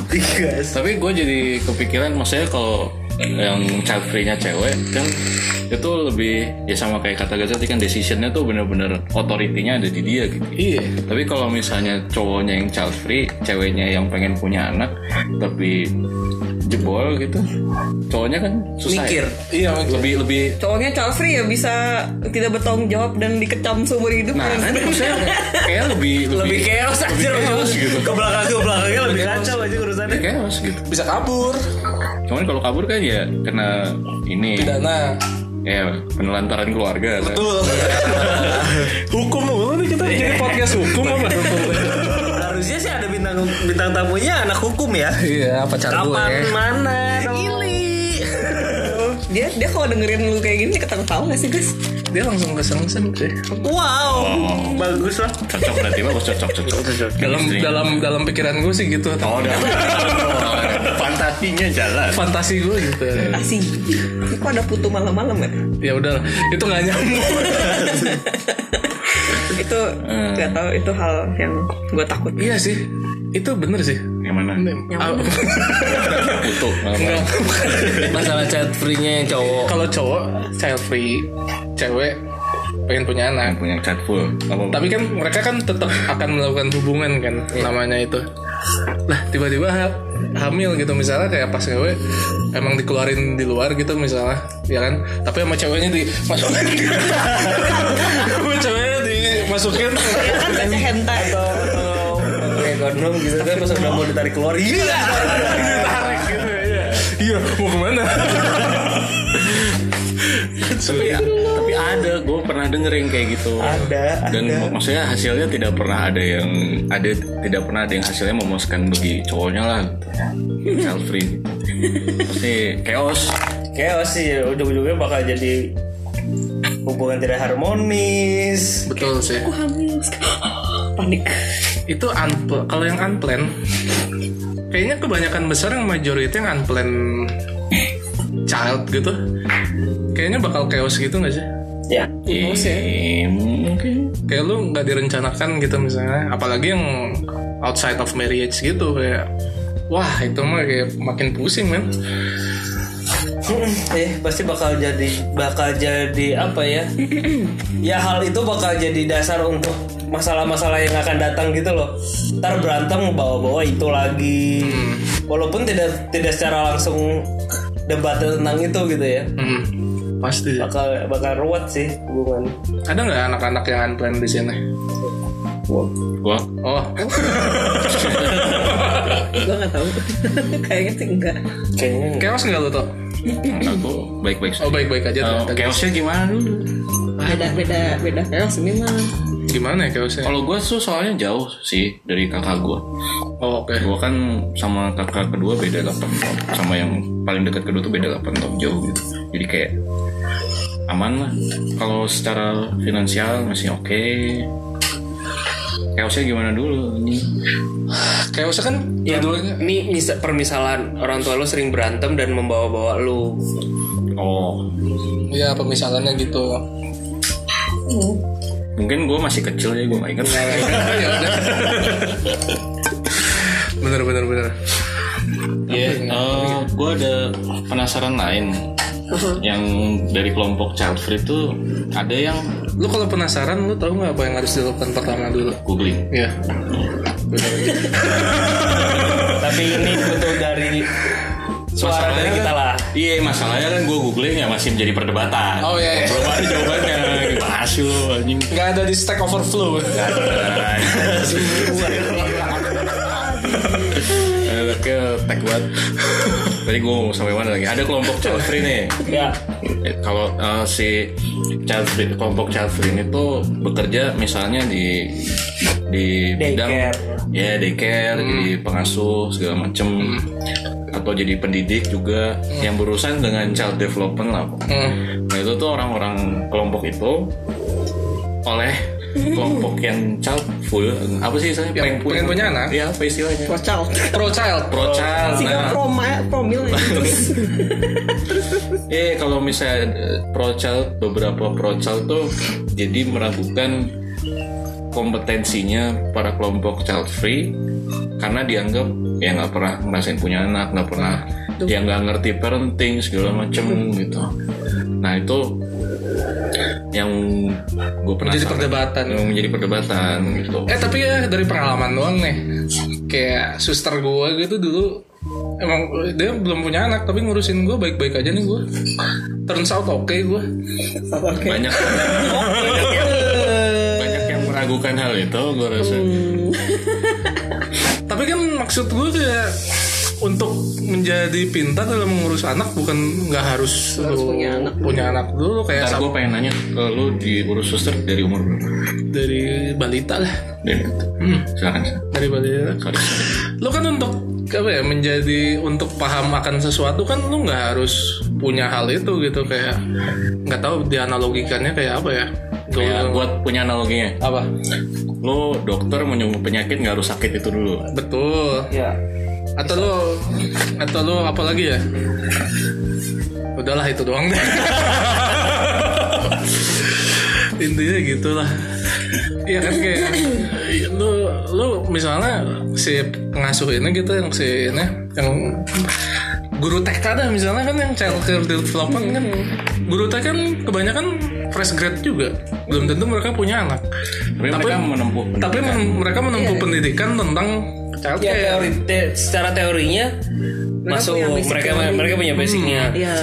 tapi gue jadi kepikiran maksudnya kalau yang child free-nya cewek kan itu lebih ya sama kayak kata Gaza tadi kan decisionnya tuh bener-bener otoritinya ada di dia gitu iya tapi kalau misalnya cowoknya yang child free ceweknya yang pengen punya anak tapi jebol gitu cowoknya kan susah ya. mikir iya lebih lebih cowoknya child free ya bisa tidak bertanggung jawab dan dikecam seumur hidup nah kan? nanti maksudnya kayak lebih lebih chaos aja lebih chaos gitu ke belakang ke belakangnya lebih kacau aja urusannya lebih chaos gitu bisa kabur cuman kalau kabur kan ya kena ini pidana ya penelantaran keluarga kan. hukum mulu nih kita jadi podcast hukum apa Iya. harusnya sih ada bintang bintang tamunya anak hukum ya iya pacar kapan gue mana dia dia kalau dengerin lu kayak gini dia ketawa-tawa gak sih guys dia langsung kesengsen sih wow Oh. bagus lah cocok berarti bagus cocok cocok dalam Chemistry. dalam dalam pikiran gue sih gitu oh dalam fantasinya jalan fantasi gue gitu asih ini kok ada putu malam-malam ya ya udah itu nggak nyambung itu nggak tahu itu hal yang gue takut iya sih itu bener sih yang mana Ah, butuh enggak. masalah chat free nya yang cowok kalau cowok child free cewek pengen punya anak punya chat full apa tapi kan mereka kan tetap akan melakukan hubungan kan Iya. namanya itu nah tiba-tiba ha- hamil gitu misalnya kayak pas cewek emang dikeluarin di luar gitu misalnya ya kan tapi sama ceweknya dimasukin sama ceweknya dimasukin kan gak sih hentai kayak kondom gitu kan pas udah mau ditarik keluar iya ditarik gitu ya iya mau kemana tapi, ya, tapi ada gue pernah denger yang kayak gitu ada dan mak- maksudnya hasilnya tidak pernah ada yang ada tidak pernah ada yang hasilnya memuaskan bagi cowoknya lah gitu. child free pasti chaos chaos sih ya. ujung-ujungnya bakal jadi hubungan tidak harmonis betul sih aku hamil "Ah," panik itu unpl- kalau yang unplanned kayaknya kebanyakan besar yang majority yang unplanned child gitu kayaknya bakal chaos gitu nggak sih ya Eh, mungkin kayak lu nggak direncanakan gitu misalnya apalagi yang outside of marriage gitu kayak wah itu mah kayak makin pusing men eh pasti bakal jadi bakal jadi apa ya ya hal itu bakal jadi dasar untuk masalah-masalah yang akan datang gitu loh ntar berantem bawa-bawa itu lagi walaupun tidak tidak secara langsung debat tentang itu gitu ya Hmm, pasti bakal bakal ruwet sih hubungan ada nggak anak-anak yang unplanned di sini gua oh gue nggak tahu kayaknya sih enggak kayaknya chaos nggak lu tuh enggak, gua baik-baik oh saja baik-baik aja Eh, tuh chaosnya gimana dulu beda beda beda chaos ini mah gimana ya chaosnya kalau gue tuh soalnya jauh sih dari kakak gue oh, oke gue kan sama kakak kedua beda 8 tahun sama yang paling dekat kedua tuh beda 8 tahun jauh gitu jadi kayak aman lah kalau secara finansial masih oke chaosnya gimana dulu ini Kayak usah kan Ya, dua-duanya ini misa- permisalan orang tua lu sering berantem dan membawa-bawa lu. oh ya pemisalannya gitu. mungkin gue masih kecil ya gue gak inget ya udah. Bener bener bener. ya gue ada penasaran lain yang dari kelompok child free itu ada yang Lu kalau penasaran lu tahu nggak apa yang harus dilakukan pertama dulu? googling Ya. Bener. Tapi ini butuh dari suara dari kita lah. Iya masalahnya kan gue googling ya masih menjadi perdebatan. Oh, iya, iya. Belum ada jawabannya. Dibahas lu anjing. Gak ada di Stack Overflow. Anaknya tag banget. Tadi gue mau sampai mana lagi? Ada kelompok child free nih. Ya, Eh, Kalau eh, si child free, kelompok child free ini tuh bekerja misalnya di di bidang Daycare. ya Hmm. daycare, jadi pengasuh segala macem atau jadi pendidik juga yang berurusan dengan child development lah. pokoknya. Hmm. Nah itu tuh orang-orang kelompok itu oleh kelompok yang child full apa sih istilahnya Yang pengen punya anak? Oh. Iya apa istilahnya? Wacal. Pro child. Pro child. Tiga Nah, proma, eh, promil ya. terus. eh kalau misalnya eh, pro child beberapa pro child tuh jadi meragukan kompetensinya para kelompok child free karena dianggap ya nggak pernah ngerasain punya anak nggak pernah ya nggak ngerti parenting segala macem gitu nah itu yang gue pernah Menjadi perdebatan. yang menjadi perdebatan gitu Eh tapi ya dari pengalaman doang nih Kayak suster gue gitu dulu Emang dia belum punya anak Tapi ngurusin gue baik-baik aja nih gue Turns out oke gue banyak banyak yang meragukan hal itu gue rasa Tapi kan maksud gue kayak Untuk menjadi pintar dalam mengurus anak Bukan nggak harus, lu punya anak dulu Kayak ntar sam- gue pengen nanya ke lu diurus suster dari umur berapa dari balita lah dari hmm. silakan silakan. Dari balita sorry Lo kan untuk apa ya menjadi untuk paham akan sesuatu kan lu nggak harus punya hal itu gitu kayak nggak tahu dianalogikannya kayak apa ya Gua- ya, buat punya analoginya apa lu dokter menyembuh penyakit nggak harus sakit itu dulu betul ya. atau lo atau lo apa lagi ya udahlah itu doang deh. intinya gitulah Iya kan kayak lu lu misalnya si pengasuh ini gitu yang si ini yang guru TK dah misalnya kan yang child care development kan guru TK kan kebanyakan fresh grade juga belum tentu mereka punya anak tapi, mereka menempuh tapi men- mereka menempuh pendidikan tentang child Ya care teori te- secara teorinya masuk punya basic mereka teori. mereka punya basicnya. Iya.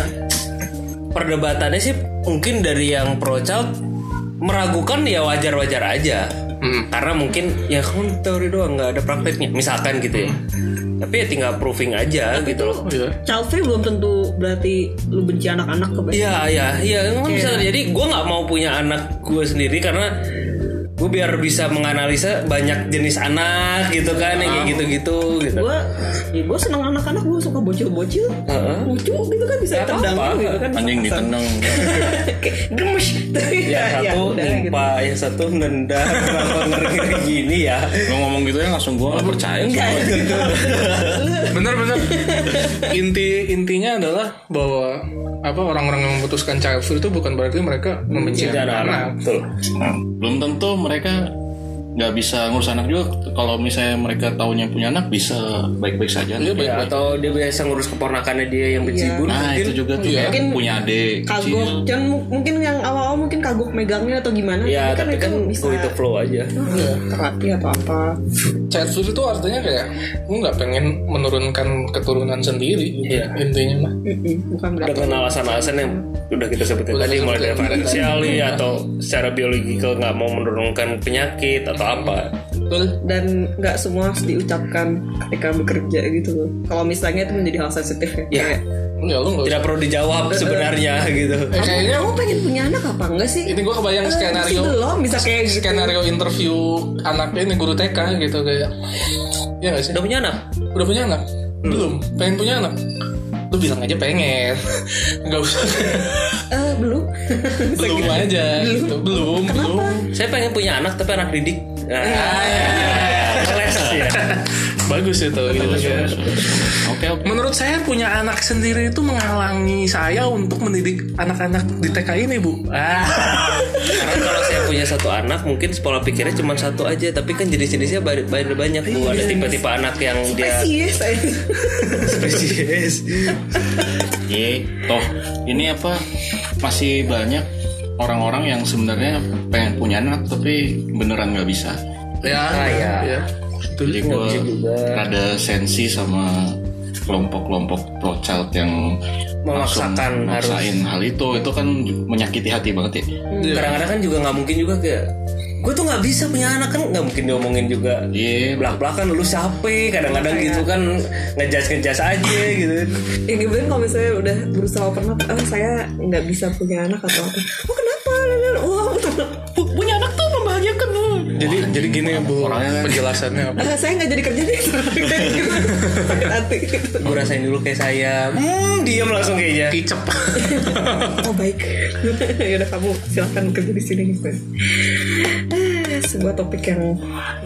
Perdebatannya sih mungkin dari yang pro child meragukan ya wajar-wajar aja. Karena mungkin ya kamu teori doang nggak ada prakteknya misalkan gitu ya. Tapi ya tinggal proving aja gitu loh. Iya. Child free belum tentu berarti lu benci anak-anak kebanyakan. Iya, iya, iya. Emang bisa terjadi. Gue nggak mau punya anak gue sendiri karena gue biar bisa menganalisa banyak jenis anak gitu kan, yang kayak gitu-gitu gitu. Gue, ya gue seneng anak-anak gue suka bocil-bocil, lucu gitu kan bisa ditendang apa-apa. gitu kan. anjing ditendang Kayak gemes. Yang Ya, satu udah gitu. nimpa, yang satu nendang, kenapa ngeri gini ya? lu ngomong gitu ya langsung gue nggak percaya Enggak. bener bener inti intinya adalah bahwa apa orang-orang yang memutuskan child free itu bukan berarti mereka membenci anak-anak Betul. Nah, belum tentu mereka nggak bisa ngurus anak juga kalau misalnya mereka taunya punya anak bisa baik-baik saja Iya, Ya, baik-baik. atau dia biasa ngurus keponakannya dia yang benci Iya. guru. nah itu juga tuh Iya. kayak punya adik Kagok, kecil dan mu- mungkin yang awal-awal mungkin kagok megangnya atau gimana. Ya, tapi kan itu Hmm. gue itu flow aja. Iya. terapi atau apa. child free itu artinya kayak lu nggak pengen menurunkan keturunan sendiri gitu, Iya. intinya mah Mm-mm, Bukan berarti. dengan alasan-alasan yang udah kita sebutin tadi mulai dari finansial atau secara biologikal nggak mau menurunkan penyakit atau apa betul dan nggak semua harus diucapkan ketika bekerja gitu loh. Kalau misalnya itu menjadi hal sensitif ya. Iya. Kayak, ya lu nggak tidak perlu dijawab sebenarnya gitu usah. eh, kayaknya "Ya, kamu pengen punya anak apa enggak sih? ini gue kebayang Eh, skenario masih belum bisa kayak gitu. skenario interview anaknya ini guru TK gitu kayak ya gak sih udah punya anak udah punya anak belum pengen punya anak lu bilang aja pengen nggak usah Eh, belum belum aja gitu. belum belum Saya pengen punya anak tapi anak didik. Nah, Iya. kelas ya. bagus itu gitu kan. Oke oke. Menurut saya punya anak sendiri itu menghalangi saya untuk mendidik anak-anak di TK ini, Bu. Ah. Karena kalau saya punya satu anak, mungkin pola pikirnya cuma satu aja, tapi kan jenis-jenisnya ba- banyak banyak bu. Iya. Ada tipe-tipe anak yang dia sih ya, saya spesies. Ye, toh ini apa masih banyak orang-orang yang sebenarnya pengen punya anak tapi beneran nggak bisa. Ya. ya. ya. Betul. Jadi Iya, gue rada sensi sama kelompok-kelompok pro child yang langsung Memaksakan harus. maksain hal itu itu kan menyakiti hati banget ya. Iya. Kadang-kadang kan juga nggak mungkin juga kayak gue tuh nggak bisa punya anak kan nggak mungkin diomongin juga Iya, belak belakan lu siapa kadang-kadang Iya. gitu kan ngejas ngejas aja gitu ya gimana kalau misalnya udah berusaha pernah oh saya nggak bisa punya anak atau apa oh kenapa wah punya anak tuh membahagiakan loh Jadi jadi gini, Bu. Penjelasannya apa? Ah, saya nggak jadi kerja deh sakit hati gue rasain dulu kayak saya hmm diam langsung kayaknya Kicep. oh baik ya udah kamu silahkan kerja di sini gitu Ah, sebuah topik yang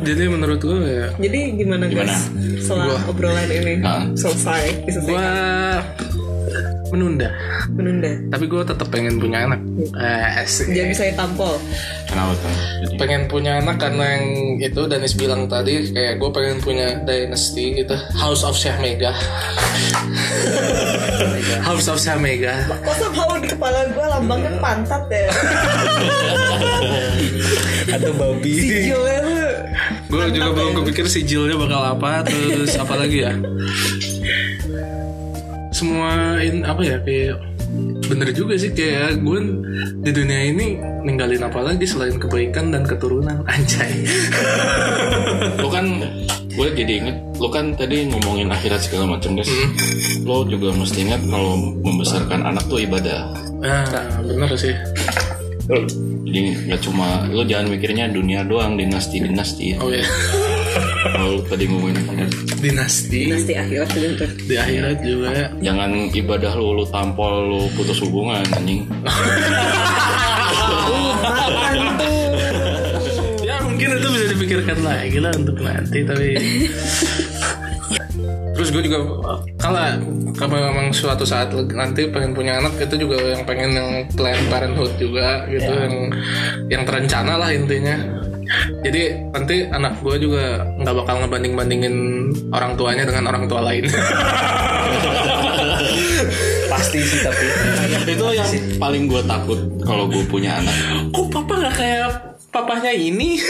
jadi menurut gue ya jadi gimana, Ah. guys setelah obrolan ini gue selesai diselesaikan menunda, menunda tapi gue tetap pengen punya anak. Eh, asik. jangan saya tampol kenapa tuh? Jadi, pengen punya anak karena yang itu Danis bilang tadi kayak gue pengen punya dynasty gitu House of Syah Mega House of Syah Mega kok somehow di kepala gue lambangnya pantat ya atau babi Gila lu Gue juga belum kepikir sijilnya bakal apa Terus apa lagi ya Semua in, apa ya kayak Bener juga sih kayak gue di dunia ini ninggalin apa lagi selain kebaikan dan keturunan anjay. lu kan gue jadi inget lu kan tadi ngomongin akhirat segala macam guys Hmm. lo juga mesti ingat kalau membesarkan anak tuh ibadah Nah, bener sih. jadi nggak cuma lo jangan mikirnya dunia doang dinasti dinasti Oh ya, kalau lu tadi ngomongin akhirat dinasti pasti akhirat itu di akhirat juga. jangan ibadah lu lu tampol lu putus hubungan anjing Ya mungkin itu bisa dipikirkan lagi lah untuk nanti tapi Terus gue juga kalau kalau memang suatu saat nanti pengen punya anak itu juga yang pengen yang plan parenthood juga gitu yang yang terencana lah intinya. Jadi nanti anak gue juga nggak bakal ngebanding bandingin orang tuanya dengan orang tua lain. pasti sih tapi itu yang paling gue takut kalau gue punya anak Kok papa nggak kayak papahnya ini?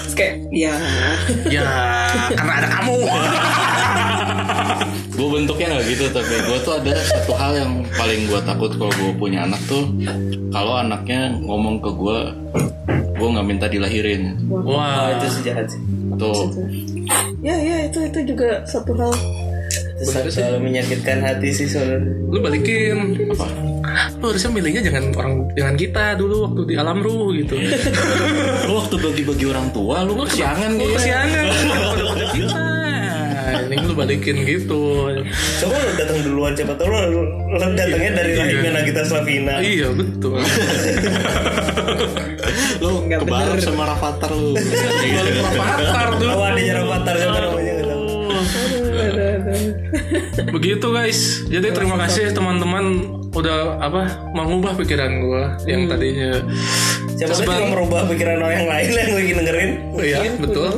terus kayak ya ya karena ada kamu. gue bentuknya nggak gitu tapi gue tuh ada satu hal yang paling gue takut kalau gue punya anak tuh kalau anaknya ngomong ke gue gue nggak minta dilahirin Wah itu sejahat sih tuh ya ya itu itu juga satu hal Itu selalu menyakitkan hati sih sebenarnya lu balikin apa lu harusnya milihnya jangan orang jangan kita dulu waktu di alam ruh gitu lu waktu bagi-bagi orang tua lu kesiangan lu gitu kesiangan udah kita ini lu balikin gitu coba lu datang duluan cepat tahu lu, lu lu datangnya dari rahimnya Nagita Slavina iya betul lu kebareng sama Rafathar lu Rapatar tuh Oh, ada jarak patar siapa namanya nggak tahu. begitu guys jadi terima kasih teman-teman udah apa mengubah pikiran gua yang tadinya Siapa tahu Sebab- juga merubah pikiran orang yang lain yang lagi dengerin. Iya betul.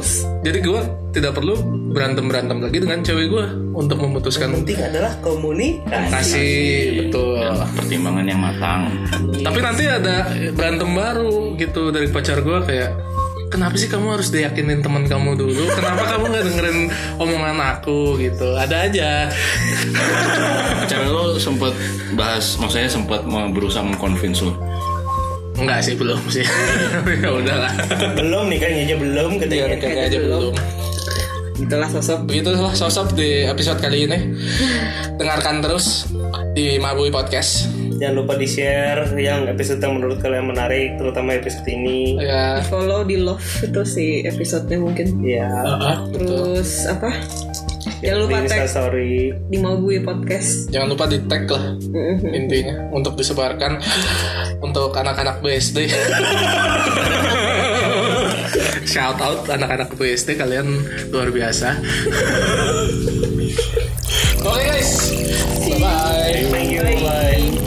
Jadi gue tidak perlu berantem berantem lagi dengan cewek gue untuk memutuskan Penting adalah komunikasi. kasih betul. pertimbangan yang matang Tapi nanti ada berantem baru gitu dari pacar gue kayak kenapa sih kamu harus diyakinin teman kamu dulu? Kenapa kamu nggak dengerin omongan aku gitu? Ada aja. cara lu sempet bahas maksudnya sempet mau berusaha mengconvince lu Enggak sih belum sih. ya udahlah. Belum nikahnya aja belum Biar katanya. Iya, kayak aja belum. itulah sosok Begitulah sosok di episode kali ini. Dengarkan terus di Mabui Podcast. Jangan lupa di share yang episode yang menurut kalian menarik, terutama episode ini. Ya. Iya. follow di love itu sih episodenya mungkin Ya, Heeh, betul. terus apa Jangan Iya. lupa Di uh, tag Instastory. di mau gue podcast. Jangan lupa di tag lah Mm-hmm. intinya untuk disebarkan untuk anak-anak BSD. Shout out anak-anak BSD kalian luar biasa. Oke guys, bye bye. Thank you. Bye.